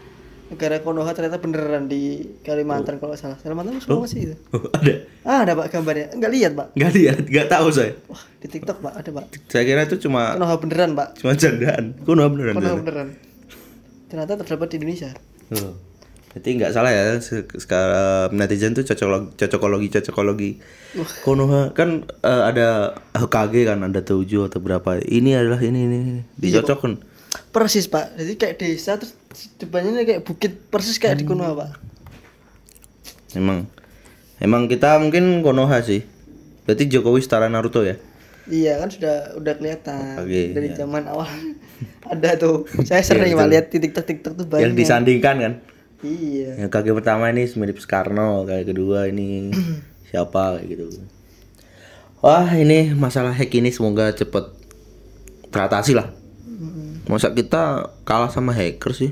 Speaker 2: Negara Konoha ternyata beneran di Kalimantan kalau nggak salah. Kalimantan Sulawesi sih itu.
Speaker 1: Oh, ada.
Speaker 2: Ah, ada Pak gambarnya. Enggak lihat, Pak.
Speaker 1: Enggak lihat, enggak tahu saya.
Speaker 2: Wah, di TikTok, Pak, ada, Pak.
Speaker 1: Saya kira itu cuma
Speaker 2: Konoha beneran, Pak.
Speaker 1: cuma candaan. Kuno beneran.
Speaker 2: Konoha
Speaker 1: beneran.
Speaker 2: beneran. Ternyata terdapat di Indonesia.
Speaker 1: Oh. Jadi nggak salah ya se- sekarang netizen tuh cocokologi cocokologi cocokologi. Konoha kan eh, ada HKG kan ada tujuh atau berapa. Ini adalah ini ini, ini. dicocokkan.
Speaker 2: Persis, Pak. Jadi kayak desa terus depannya kayak bukit persis
Speaker 1: Hmm.
Speaker 2: kayak di Konoha, Pak.
Speaker 1: Emang emang kita mungkin Konoha sih. Berarti Jokowi setara Naruto ya.
Speaker 2: Iya kan sudah udah kelihatan
Speaker 1: Oke, iya.
Speaker 2: dari zaman awal <laughs> ada tuh. Saya sering Pak lihat di TikTok TikTok tuh
Speaker 1: Yang
Speaker 2: banyak.
Speaker 1: disandingkan kan.
Speaker 2: Iya.
Speaker 1: Yang kaki pertama ini mirip Soekarno, kaki kedua
Speaker 2: <clears throat>
Speaker 1: ini siapa kayak gitu. Wah ini masalah hack ini semoga cepet teratasi lah. Masa kita kalah sama hacker sih?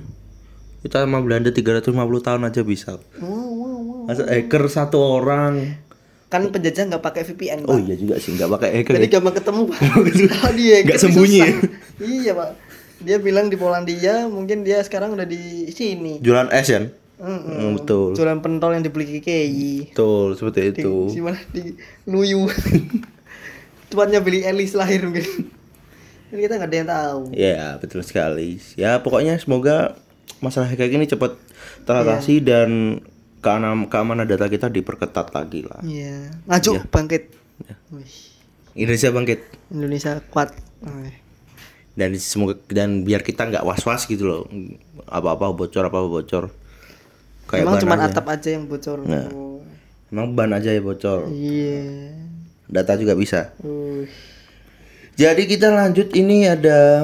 Speaker 1: Kita sama Belanda 350 tahun aja bisa.
Speaker 2: Wow, wow, wow.
Speaker 1: Masa hacker satu orang?
Speaker 2: Kan penjajah nggak pakai VPN, Pak.
Speaker 1: Oh iya juga sih, nggak pakai hacker.
Speaker 2: Jadi
Speaker 1: ya.
Speaker 2: gampang ketemu, Pak. <laughs> Kalau dia
Speaker 1: Nggak
Speaker 2: ketemu
Speaker 1: sembunyi ya?
Speaker 2: susah. Iya, Pak. Dia bilang di Polandia, mungkin dia sekarang udah di sini.
Speaker 1: Jualan es kan?
Speaker 2: Mm-mm.
Speaker 1: Hmm, betul,
Speaker 2: Jualan pentol yang dibeli KKI.
Speaker 1: betul seperti itu.
Speaker 2: Di mana di Nuyu. <laughs> Tempatnya beli Elis lahir mungkin. Jadi kita nggak ada yang tahu.
Speaker 1: Ya betul sekali. Ya pokoknya semoga masalah kayak gini cepat
Speaker 2: Iya.
Speaker 1: teratasi dan keamanan, keamanan data kita diperketat lagi lah.
Speaker 2: Iya. Maju bangkit.
Speaker 1: Iya.
Speaker 2: Wih,
Speaker 1: Indonesia bangkit
Speaker 2: Indonesia kuat. Eh,
Speaker 1: dan semoga dan biar kita nggak was was gitu loh apa apa bocor apa apa bocor kayak
Speaker 2: Emang
Speaker 1: ban
Speaker 2: cuma
Speaker 1: aja.
Speaker 2: atap aja yang bocor.
Speaker 1: Nah.
Speaker 2: Oh,
Speaker 1: Emang ban aja ya bocor.
Speaker 2: Iya.
Speaker 1: Data juga bisa.
Speaker 2: Uh.
Speaker 1: Jadi kita lanjut ini ada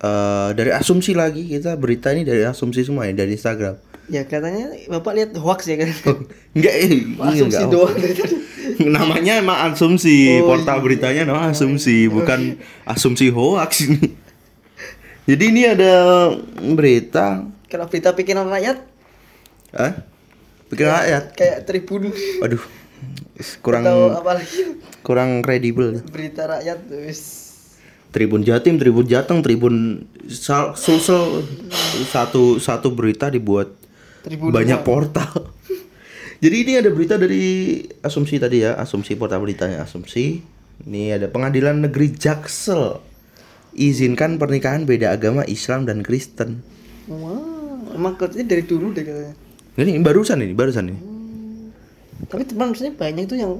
Speaker 1: eh, dari asumsi lagi kita berita ini dari asumsi semua ya dari Instagram. <laughs>
Speaker 2: Ya kelihatannya Bapak lihat hoax ya kan.
Speaker 1: Enggak, eh, ini
Speaker 2: Asumsi
Speaker 1: enggak.
Speaker 2: doang dari <laughs> tadi.
Speaker 1: <laughs> Namanya emang asumsi, portal beritanya namanya asumsi, bukan asumsi hoax ini. <laughs> Jadi ini ada berita,
Speaker 2: Kalau berita pikiran rakyat
Speaker 1: ah, pikiran rakyat.
Speaker 2: kayak Tribun
Speaker 1: Aduh, kurang
Speaker 2: atau eh. apalagi
Speaker 1: kurang kredibel.
Speaker 2: berita rakyat wis
Speaker 1: Tribun Jatim, Tribun Jateng, Tribun Sal- Sulsel satu satu berita dibuat
Speaker 2: Tribun
Speaker 1: banyak portal. <laughs> Jadi ini ada berita dari asumsi tadi ya, asumsi portal beritanya asumsi. Ini ada pengadilan negeri Jaksel izinkan pernikahan beda agama Islam dan Kristen.
Speaker 2: Wow, emang kerjanya dari dulu deh katanya.
Speaker 1: Ini barusan ini, barusan ini.
Speaker 2: Tapi teman maksudnya banyak tuh yang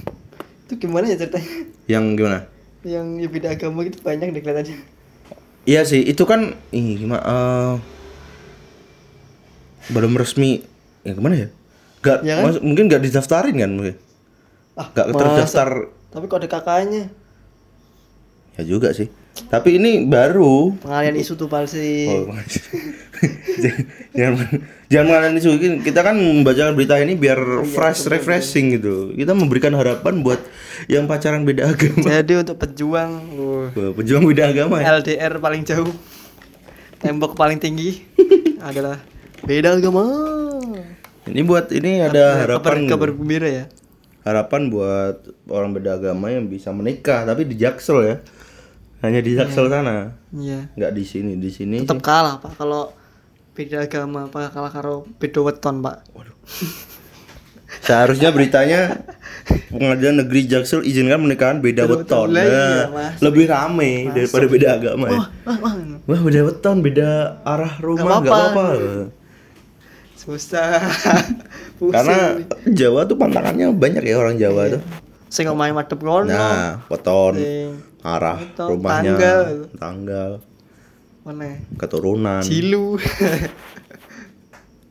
Speaker 2: <laughs> itu gimana ya ceritanya?
Speaker 1: Yang gimana?
Speaker 2: Yang ya beda agama gitu banyak deh kelihatannya.
Speaker 1: Iya sih, itu kan ih gimana eh, belum resmi ya gimana ya? Gak,
Speaker 2: Ya kan?
Speaker 1: mas- mungkin gak didaftarin kan mungkin.
Speaker 2: Ah,
Speaker 1: Gak
Speaker 2: masa?
Speaker 1: terdaftar
Speaker 2: Tapi kok ada kakaknya?
Speaker 1: ya juga sih. Tapi ini baru
Speaker 2: Pengalian isu tuh palsi.
Speaker 1: Oh, <laughs> makasih. Jangan- jangan jangan mengalami isu ini. Kita kan membacakan berita ini biar
Speaker 2: Iya,
Speaker 1: fresh refreshing gitu. Kita memberikan harapan buat yang pacaran beda <laughs> agama.
Speaker 2: Jadi untuk pejuang wuh,
Speaker 1: Wah, Pejuang beda agama ya.
Speaker 2: LDR paling jauh, tembok paling
Speaker 1: <laughs>
Speaker 2: tinggi adalah beda agama.
Speaker 1: Ini buat ini ada harapan gitu.
Speaker 2: Kabar, kabar gembira ya.
Speaker 1: harapan buat orang beda agama yang bisa menikah tapi di Jaksel ya. Hanya di Jaksel sana.
Speaker 2: Iya.
Speaker 1: Nggak di sini, di sini.
Speaker 2: Tetap kalah pak kalau beda agama pak kalah karo beda weton pak.
Speaker 1: Seharusnya beritanya pengadilan negeri Jaksel izinkan pernikahan beda weton.
Speaker 2: Lah, iya, Oh,
Speaker 1: Nah,
Speaker 2: masuk.
Speaker 1: lebih rame daripada beda agama ya.
Speaker 2: Wah, wah,
Speaker 1: Wah beda weton, beda arah rumah nggak
Speaker 2: Nggak
Speaker 1: apa-apa.
Speaker 2: apa-apa. susah. Pusing.
Speaker 1: Karena Jawa tuh pantangannya banyak ya orang Jawa tuh.
Speaker 2: sing omahe madhep ngono.
Speaker 1: Nah, weton,
Speaker 2: Sing
Speaker 1: arah
Speaker 2: Weton,
Speaker 1: rumahnya,
Speaker 2: Iya. tanggal.
Speaker 1: tanggal,
Speaker 2: meneh.
Speaker 1: keturunan,
Speaker 2: Cilu.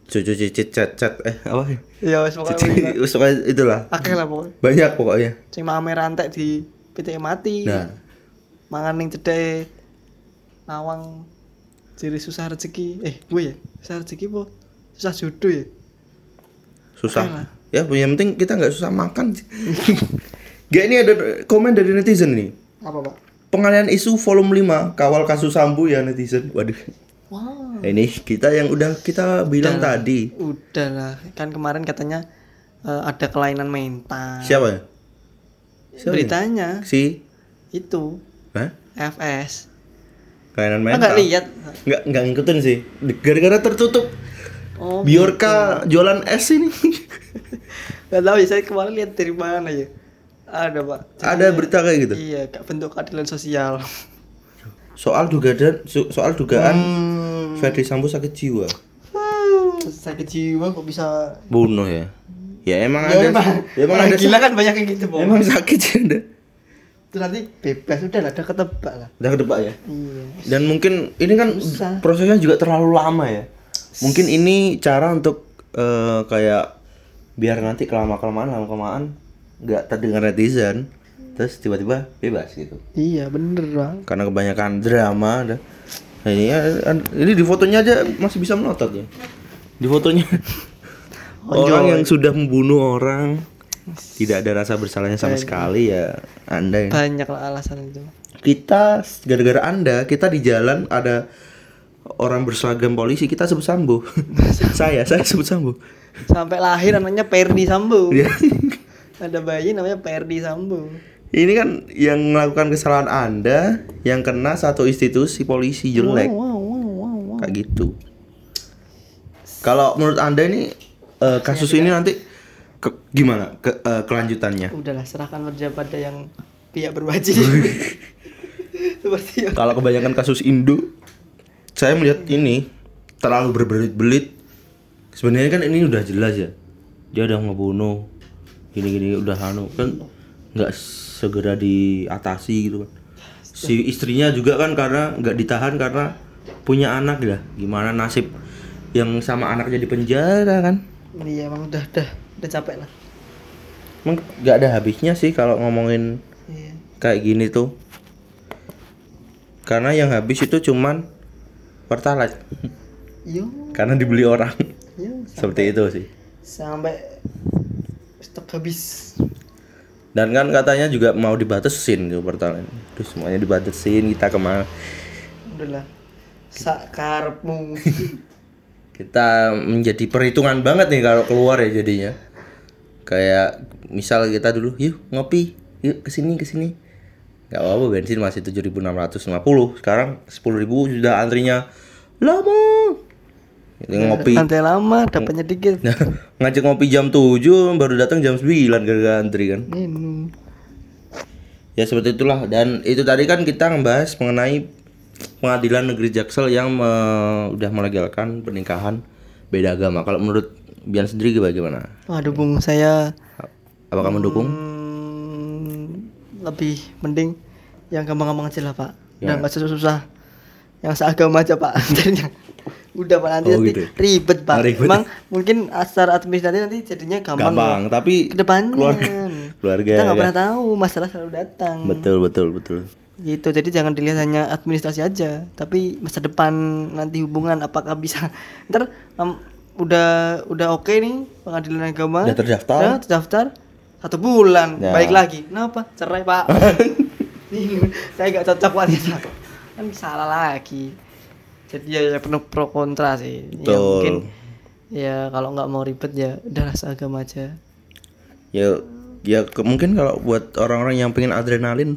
Speaker 1: cucu cicit cecet eh apa? ya?
Speaker 2: ya wis pokoke kuwi lah.
Speaker 1: Cici, pokoknya itulah.
Speaker 2: akeh lah pokoke.
Speaker 1: Banyak pokoknya.
Speaker 2: Sing mame rantek di pitik mati.
Speaker 1: Nah,
Speaker 2: Mangan ning cedhek nawang ciri susah rezeki. Eh, gue ya. Susah rezeki po. Susah jodoh ya.
Speaker 1: susah. Ya, yang penting kita nggak susah makan. <laughs> Gak ini ada komen dari netizen nih.
Speaker 2: Apa, Pak?
Speaker 1: Pengalian isu volume 5 kawal kasus sambu ya netizen. Waduh.
Speaker 2: Wah,
Speaker 1: Ini kita yang udah kita bilang tadi.
Speaker 2: udah lah. Kan kemarin katanya eh, ada kelainan mental.
Speaker 1: Siapa ya? Siapa
Speaker 2: Beritanya
Speaker 1: Si
Speaker 2: itu
Speaker 1: Hah?
Speaker 2: FS.
Speaker 1: Kelainan
Speaker 2: Ah,
Speaker 1: mental.
Speaker 2: Enggak lihat.
Speaker 1: Nggak, nggak ngikutin sih. Gara-gara tertutup.
Speaker 2: Oh,
Speaker 1: Biorka jualan es ini. <laughs>
Speaker 2: Gak tahu ya, saya kemarin lihat dari mana ya. Ada pak.
Speaker 1: Ada berita kayak gitu.
Speaker 2: Iya, Kak, bentuk keadilan sosial.
Speaker 1: Soal dugaan so- soal dugaan Ferdi Sambo sakit jiwa.
Speaker 2: Hmm, Sakit jiwa kok bisa.
Speaker 1: Bunuh ya. Ya emang
Speaker 2: Ya
Speaker 1: ada.
Speaker 2: emang,
Speaker 1: ya emang
Speaker 2: orang
Speaker 1: ada.
Speaker 2: gila kan banyak yang gitu pak.
Speaker 1: Emang sakit <laughs> sih ada.
Speaker 2: Itu nanti bebas udah lah, udah ketebak lah.
Speaker 1: Udah kedebak ya.
Speaker 2: Iya.
Speaker 1: Dan mungkin ini kan
Speaker 2: Susah.
Speaker 1: prosesnya juga terlalu lama ya. Mungkin ini cara untuk eh, kayak biar nanti kelama kelamaan lama kelamaan nggak terdengar netizen, terus tiba-tiba bebas gitu.
Speaker 2: Iya bener pak.
Speaker 1: Karena kebanyakan drama ada. Nah, ini ini di fotonya aja masih bisa melotot ya. Di fotonya orang yang sudah membunuh orang tidak ada rasa bersalahnya sama sekali ya Anda yang
Speaker 2: Banyak lah alasan itu.
Speaker 1: kita gara-gara anda kita di jalan ada orang berseragam polisi kita sebut sambo saya saya sebut sambo
Speaker 2: Sampai lahir namanya Perdi Sambo.
Speaker 1: Dia-
Speaker 2: Ada bayi namanya Perdi Sambo.
Speaker 1: ini kan yang melakukan kesalahan anda yang kena satu institusi polisi jelek
Speaker 2: Wow, wow, wow, wow.
Speaker 1: kayak gitu kalau menurut anda ini eh, kasus ini nanti ke- gimana ke- eh, kelanjutannya
Speaker 2: Udahlah serahkan kerja pada yang pihak berwajib. Seperti
Speaker 1: kalau kebanyakan kasus Indo saya melihat ini terlalu berbelit-belit sebenarnya kan ini udah jelas ya dia udah ngebunuh gini-gini udah anu kan nggak segera diatasi gitu kan si istrinya juga kan karena nggak ditahan karena punya anak ya gimana nasib yang sama anaknya di penjara kan
Speaker 2: iya emang udah udah udah capek lah
Speaker 1: emang nggak ada habisnya sih kalau ngomongin
Speaker 2: iya
Speaker 1: kayak gini tuh karena yang habis itu cuman pertalite
Speaker 2: yo
Speaker 1: karena dibeli orang
Speaker 2: yo
Speaker 1: seperti itu sih
Speaker 2: sampai stok habis
Speaker 1: dan kan katanya juga mau dibatasin tuh pertalite terus semuanya dibatasin kita kemana
Speaker 2: udah lah sakarmu
Speaker 1: kita menjadi perhitungan banget nih kalau keluar ya jadinya kayak misal kita dulu yuk ngopi yuk kesini kesini nggak apa-apa bensin masih 7.650 sekarang 10.000 sudah antrinya lama Kita ngopi
Speaker 2: nanti lama dapatnya dikit
Speaker 1: Nah, <laughs> ngajak ngopi jam 7 baru datang jam 9 gara-gara antri kan
Speaker 2: minum
Speaker 1: ya seperti itulah dan itu tadi kan kita membahas mengenai pengadilan negeri Jaksel yang me- udah melegalkan pernikahan beda agama kalau menurut Bian sendiri bagaimana
Speaker 2: waduh bung saya
Speaker 1: apakah mendukung
Speaker 2: Hmm, lebih mending yang gampang-gampang aja lah pak
Speaker 1: Ya.
Speaker 2: udah nggak susah-susah yang seagama aja pak <laughs> akhirnya udah pak nanti,
Speaker 1: Oh,
Speaker 2: nanti
Speaker 1: gitu.
Speaker 2: ribet
Speaker 1: Oh,
Speaker 2: pak
Speaker 1: ribet.
Speaker 2: emang mungkin asar administratif nanti jadinya gampang,
Speaker 1: gampang tapi
Speaker 2: kedepannya
Speaker 1: keluarga keluarga
Speaker 2: kita nggak
Speaker 1: ya.
Speaker 2: pernah tahu masalah selalu datang
Speaker 1: betul betul betul
Speaker 2: gitu jadi jangan dilihat hanya administrasi aja tapi masa depan nanti hubungan apakah bisa <laughs> ntar em, udah udah oke nih pengadilan agama
Speaker 1: Udah terdaftar.
Speaker 2: udah terdaftar satu bulan
Speaker 1: Ya.
Speaker 2: balik lagi kenapa cerai
Speaker 1: <laughs>
Speaker 2: pak Bingung. saya nggak cocok wanita <laughs> kan salah lagi jadi ya, ya penuh pro kontra sih ya
Speaker 1: Betul.
Speaker 2: mungkin ya kalau nggak mau ribet ya udah rasa agama aja
Speaker 1: ya ya ke- mungkin kalau buat orang-orang yang pengen adrenalin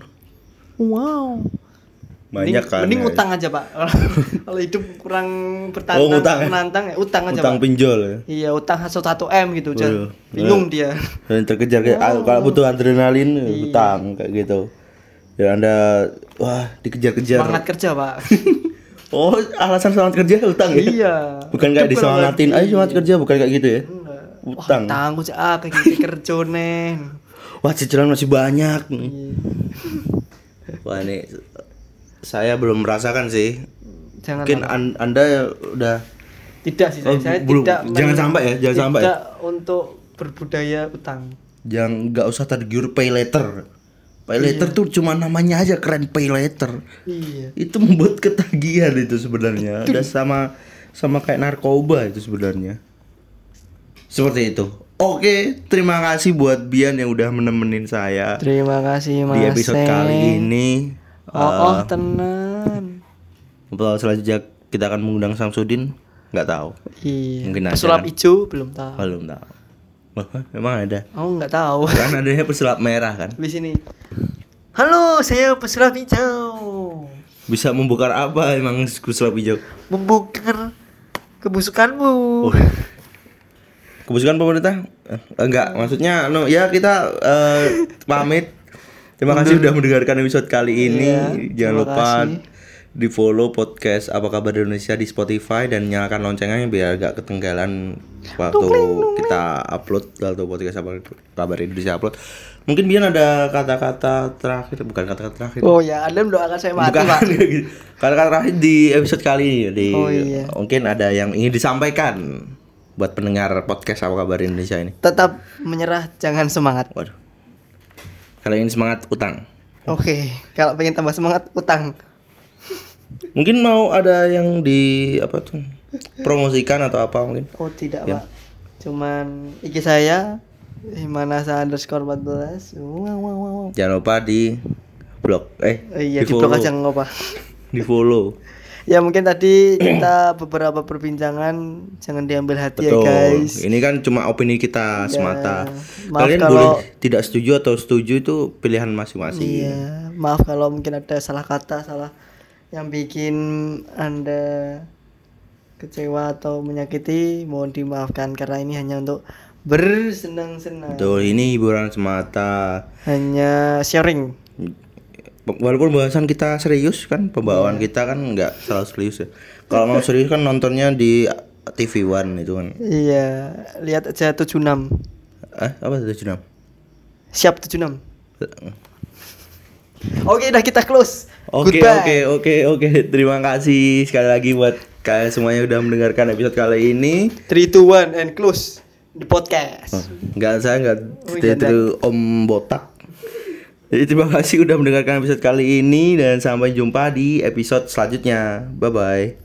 Speaker 2: wow
Speaker 1: banyak
Speaker 2: mending,
Speaker 1: kan
Speaker 2: mending
Speaker 1: ya.
Speaker 2: utang aja pak <laughs> Kalau- kalau hidup kurang
Speaker 1: Oh,
Speaker 2: bertantang
Speaker 1: ngutang ya?
Speaker 2: menantang ya utang
Speaker 1: utang
Speaker 2: aja
Speaker 1: Oh, iya.
Speaker 2: pak
Speaker 1: pinjol ya
Speaker 2: iya utang hasil 1 m gitu
Speaker 1: Waduh.
Speaker 2: jangan
Speaker 1: Eh.
Speaker 2: bingung dia
Speaker 1: Dan terkejar kayak ah, kalau butuh adrenalin
Speaker 2: Iya.
Speaker 1: ya utang kayak gitu. Ya Anda wah
Speaker 2: semangat
Speaker 1: dikejar-kejar.
Speaker 2: kerja
Speaker 1: <laughs>
Speaker 2: pak
Speaker 1: Oh, alasan semangat kerja utang ya?
Speaker 2: iya
Speaker 1: Bukan kayak
Speaker 2: Itu kurang
Speaker 1: disemangatin, ayo semangat kerja bukan kayak gitu ya.
Speaker 2: Enggak.
Speaker 1: Utang.
Speaker 2: utang gue ah kayak gitu kerja neng
Speaker 1: Wah, cicilan masih banyak.
Speaker 2: Iya.
Speaker 1: Wah, ini saya belum merasakan sih.
Speaker 2: jangan
Speaker 1: Mungkin an- Anda udah
Speaker 2: tidak sih saya,
Speaker 1: Oh,
Speaker 2: saya
Speaker 1: belum.
Speaker 2: tidak
Speaker 1: Jangan
Speaker 2: men-
Speaker 1: sampai ya, jangan sampai ya.
Speaker 2: tidak untuk berbudaya utang
Speaker 1: jangan nggak usah tergiur pay later. Pay later tuh cuma namanya aja keren pay later.
Speaker 2: iya
Speaker 1: itu membuat ketagihan itu sebenarnya udah sama sama kayak narkoba itu sebenarnya seperti itu oke terima kasih buat Bian yang udah menemenin saya
Speaker 2: terima kasih mas
Speaker 1: di episode kali ini Eh, Ah.
Speaker 2: oh, oh tenan
Speaker 1: Episode selanjutnya kita akan mengundang Samsudin nggak tahu
Speaker 2: iya
Speaker 1: Mungkin ada
Speaker 2: pesulap
Speaker 1: kan?
Speaker 2: hijau belum tahu
Speaker 1: belum tahu Wah, emang ada
Speaker 2: oh nggak tahu
Speaker 1: kan adanya pesulap merah kan
Speaker 2: di sini. Halo, saya pesulap hijau.
Speaker 1: bisa membukar apa emang pesulap hijau
Speaker 2: Membongkar kebusukanmu.
Speaker 1: kebusukan pemerintah Eh, enggak maksudnya no ya kita eh, pamit terima kasih sudah mendengarkan episode kali ini
Speaker 2: Iya,
Speaker 1: jangan
Speaker 2: terima
Speaker 1: lupa
Speaker 2: kasih.
Speaker 1: di follow podcast apa kabar Indonesia di Spotify dan nyalakan loncengnya biar gak ketinggalan waktu kita upload waktu podcast apa kabar Indonesia upload mungkin Bian ada kata-kata terakhir bukan kata-kata terakhir
Speaker 2: Oh ya, Anda mendoakan saya mati,
Speaker 1: Gitu. bukan
Speaker 2: Pak. <laughs>
Speaker 1: gitu. kata-kata terakhir di episode kali ini di
Speaker 2: Oh, iya.
Speaker 1: mungkin ada yang ingin disampaikan buat pendengar podcast apa kabar Indonesia ini
Speaker 2: Tetap menyerah, jangan semangat.
Speaker 1: Waduh. Kalau ingin semangat utang.
Speaker 2: Oke, kalau pengen tambah semangat, utang.
Speaker 1: Mungkin mau ada yang di apa tuh? Promosikan atau apa mungkin?
Speaker 2: Oh tidak,
Speaker 1: Ya.
Speaker 2: Pak. Cuman IG saya Himanasa underscore 14 wow, wow, wow, wow.
Speaker 1: Jangan lupa di blog eh
Speaker 2: Eh, Iya, di blok
Speaker 1: follow.
Speaker 2: aja nggak apa
Speaker 1: Di
Speaker 2: <laughs>
Speaker 1: follow.
Speaker 2: Ya mungkin tadi
Speaker 1: <clears throat>
Speaker 2: kita beberapa perbincangan Jangan diambil hati
Speaker 1: Betul.
Speaker 2: ya guys Iya.
Speaker 1: Ini kan cuma opini kita semata.
Speaker 2: Maaf
Speaker 1: Kalian
Speaker 2: kalau-
Speaker 1: boleh tidak setuju atau setuju itu pilihan masing-masing.
Speaker 2: Iya, maaf kalau mungkin ada salah kata, salah yang bikin Anda kecewa atau menyakiti, mohon dimaafkan karena ini hanya untuk bersenang-senang.
Speaker 1: Betul, ini hiburan semata.
Speaker 2: Hanya sharing.
Speaker 1: Walaupun bahasan kita serius kan, pembawaan kita kan nggak selalu serius ya. Kalau mau serius kan nontonnya di TV One itu kan.
Speaker 2: Iya, lihat aja 76.
Speaker 1: Eh, apa tuh Junam?
Speaker 2: Siap 76. Oke, udah kita close.
Speaker 1: Oke
Speaker 2: Goodbye.
Speaker 1: oke oke oke terima kasih sekali lagi buat Kalian semuanya udah mendengarkan episode kali ini.
Speaker 2: 3 2 1 and close the podcast.
Speaker 1: Nggak saya nggak
Speaker 2: Oh, iya,
Speaker 1: ditiru Om Botak. Jadi terima kasih udah mendengarkan episode kali ini dan sampai jumpa di episode selanjutnya. Bye bye.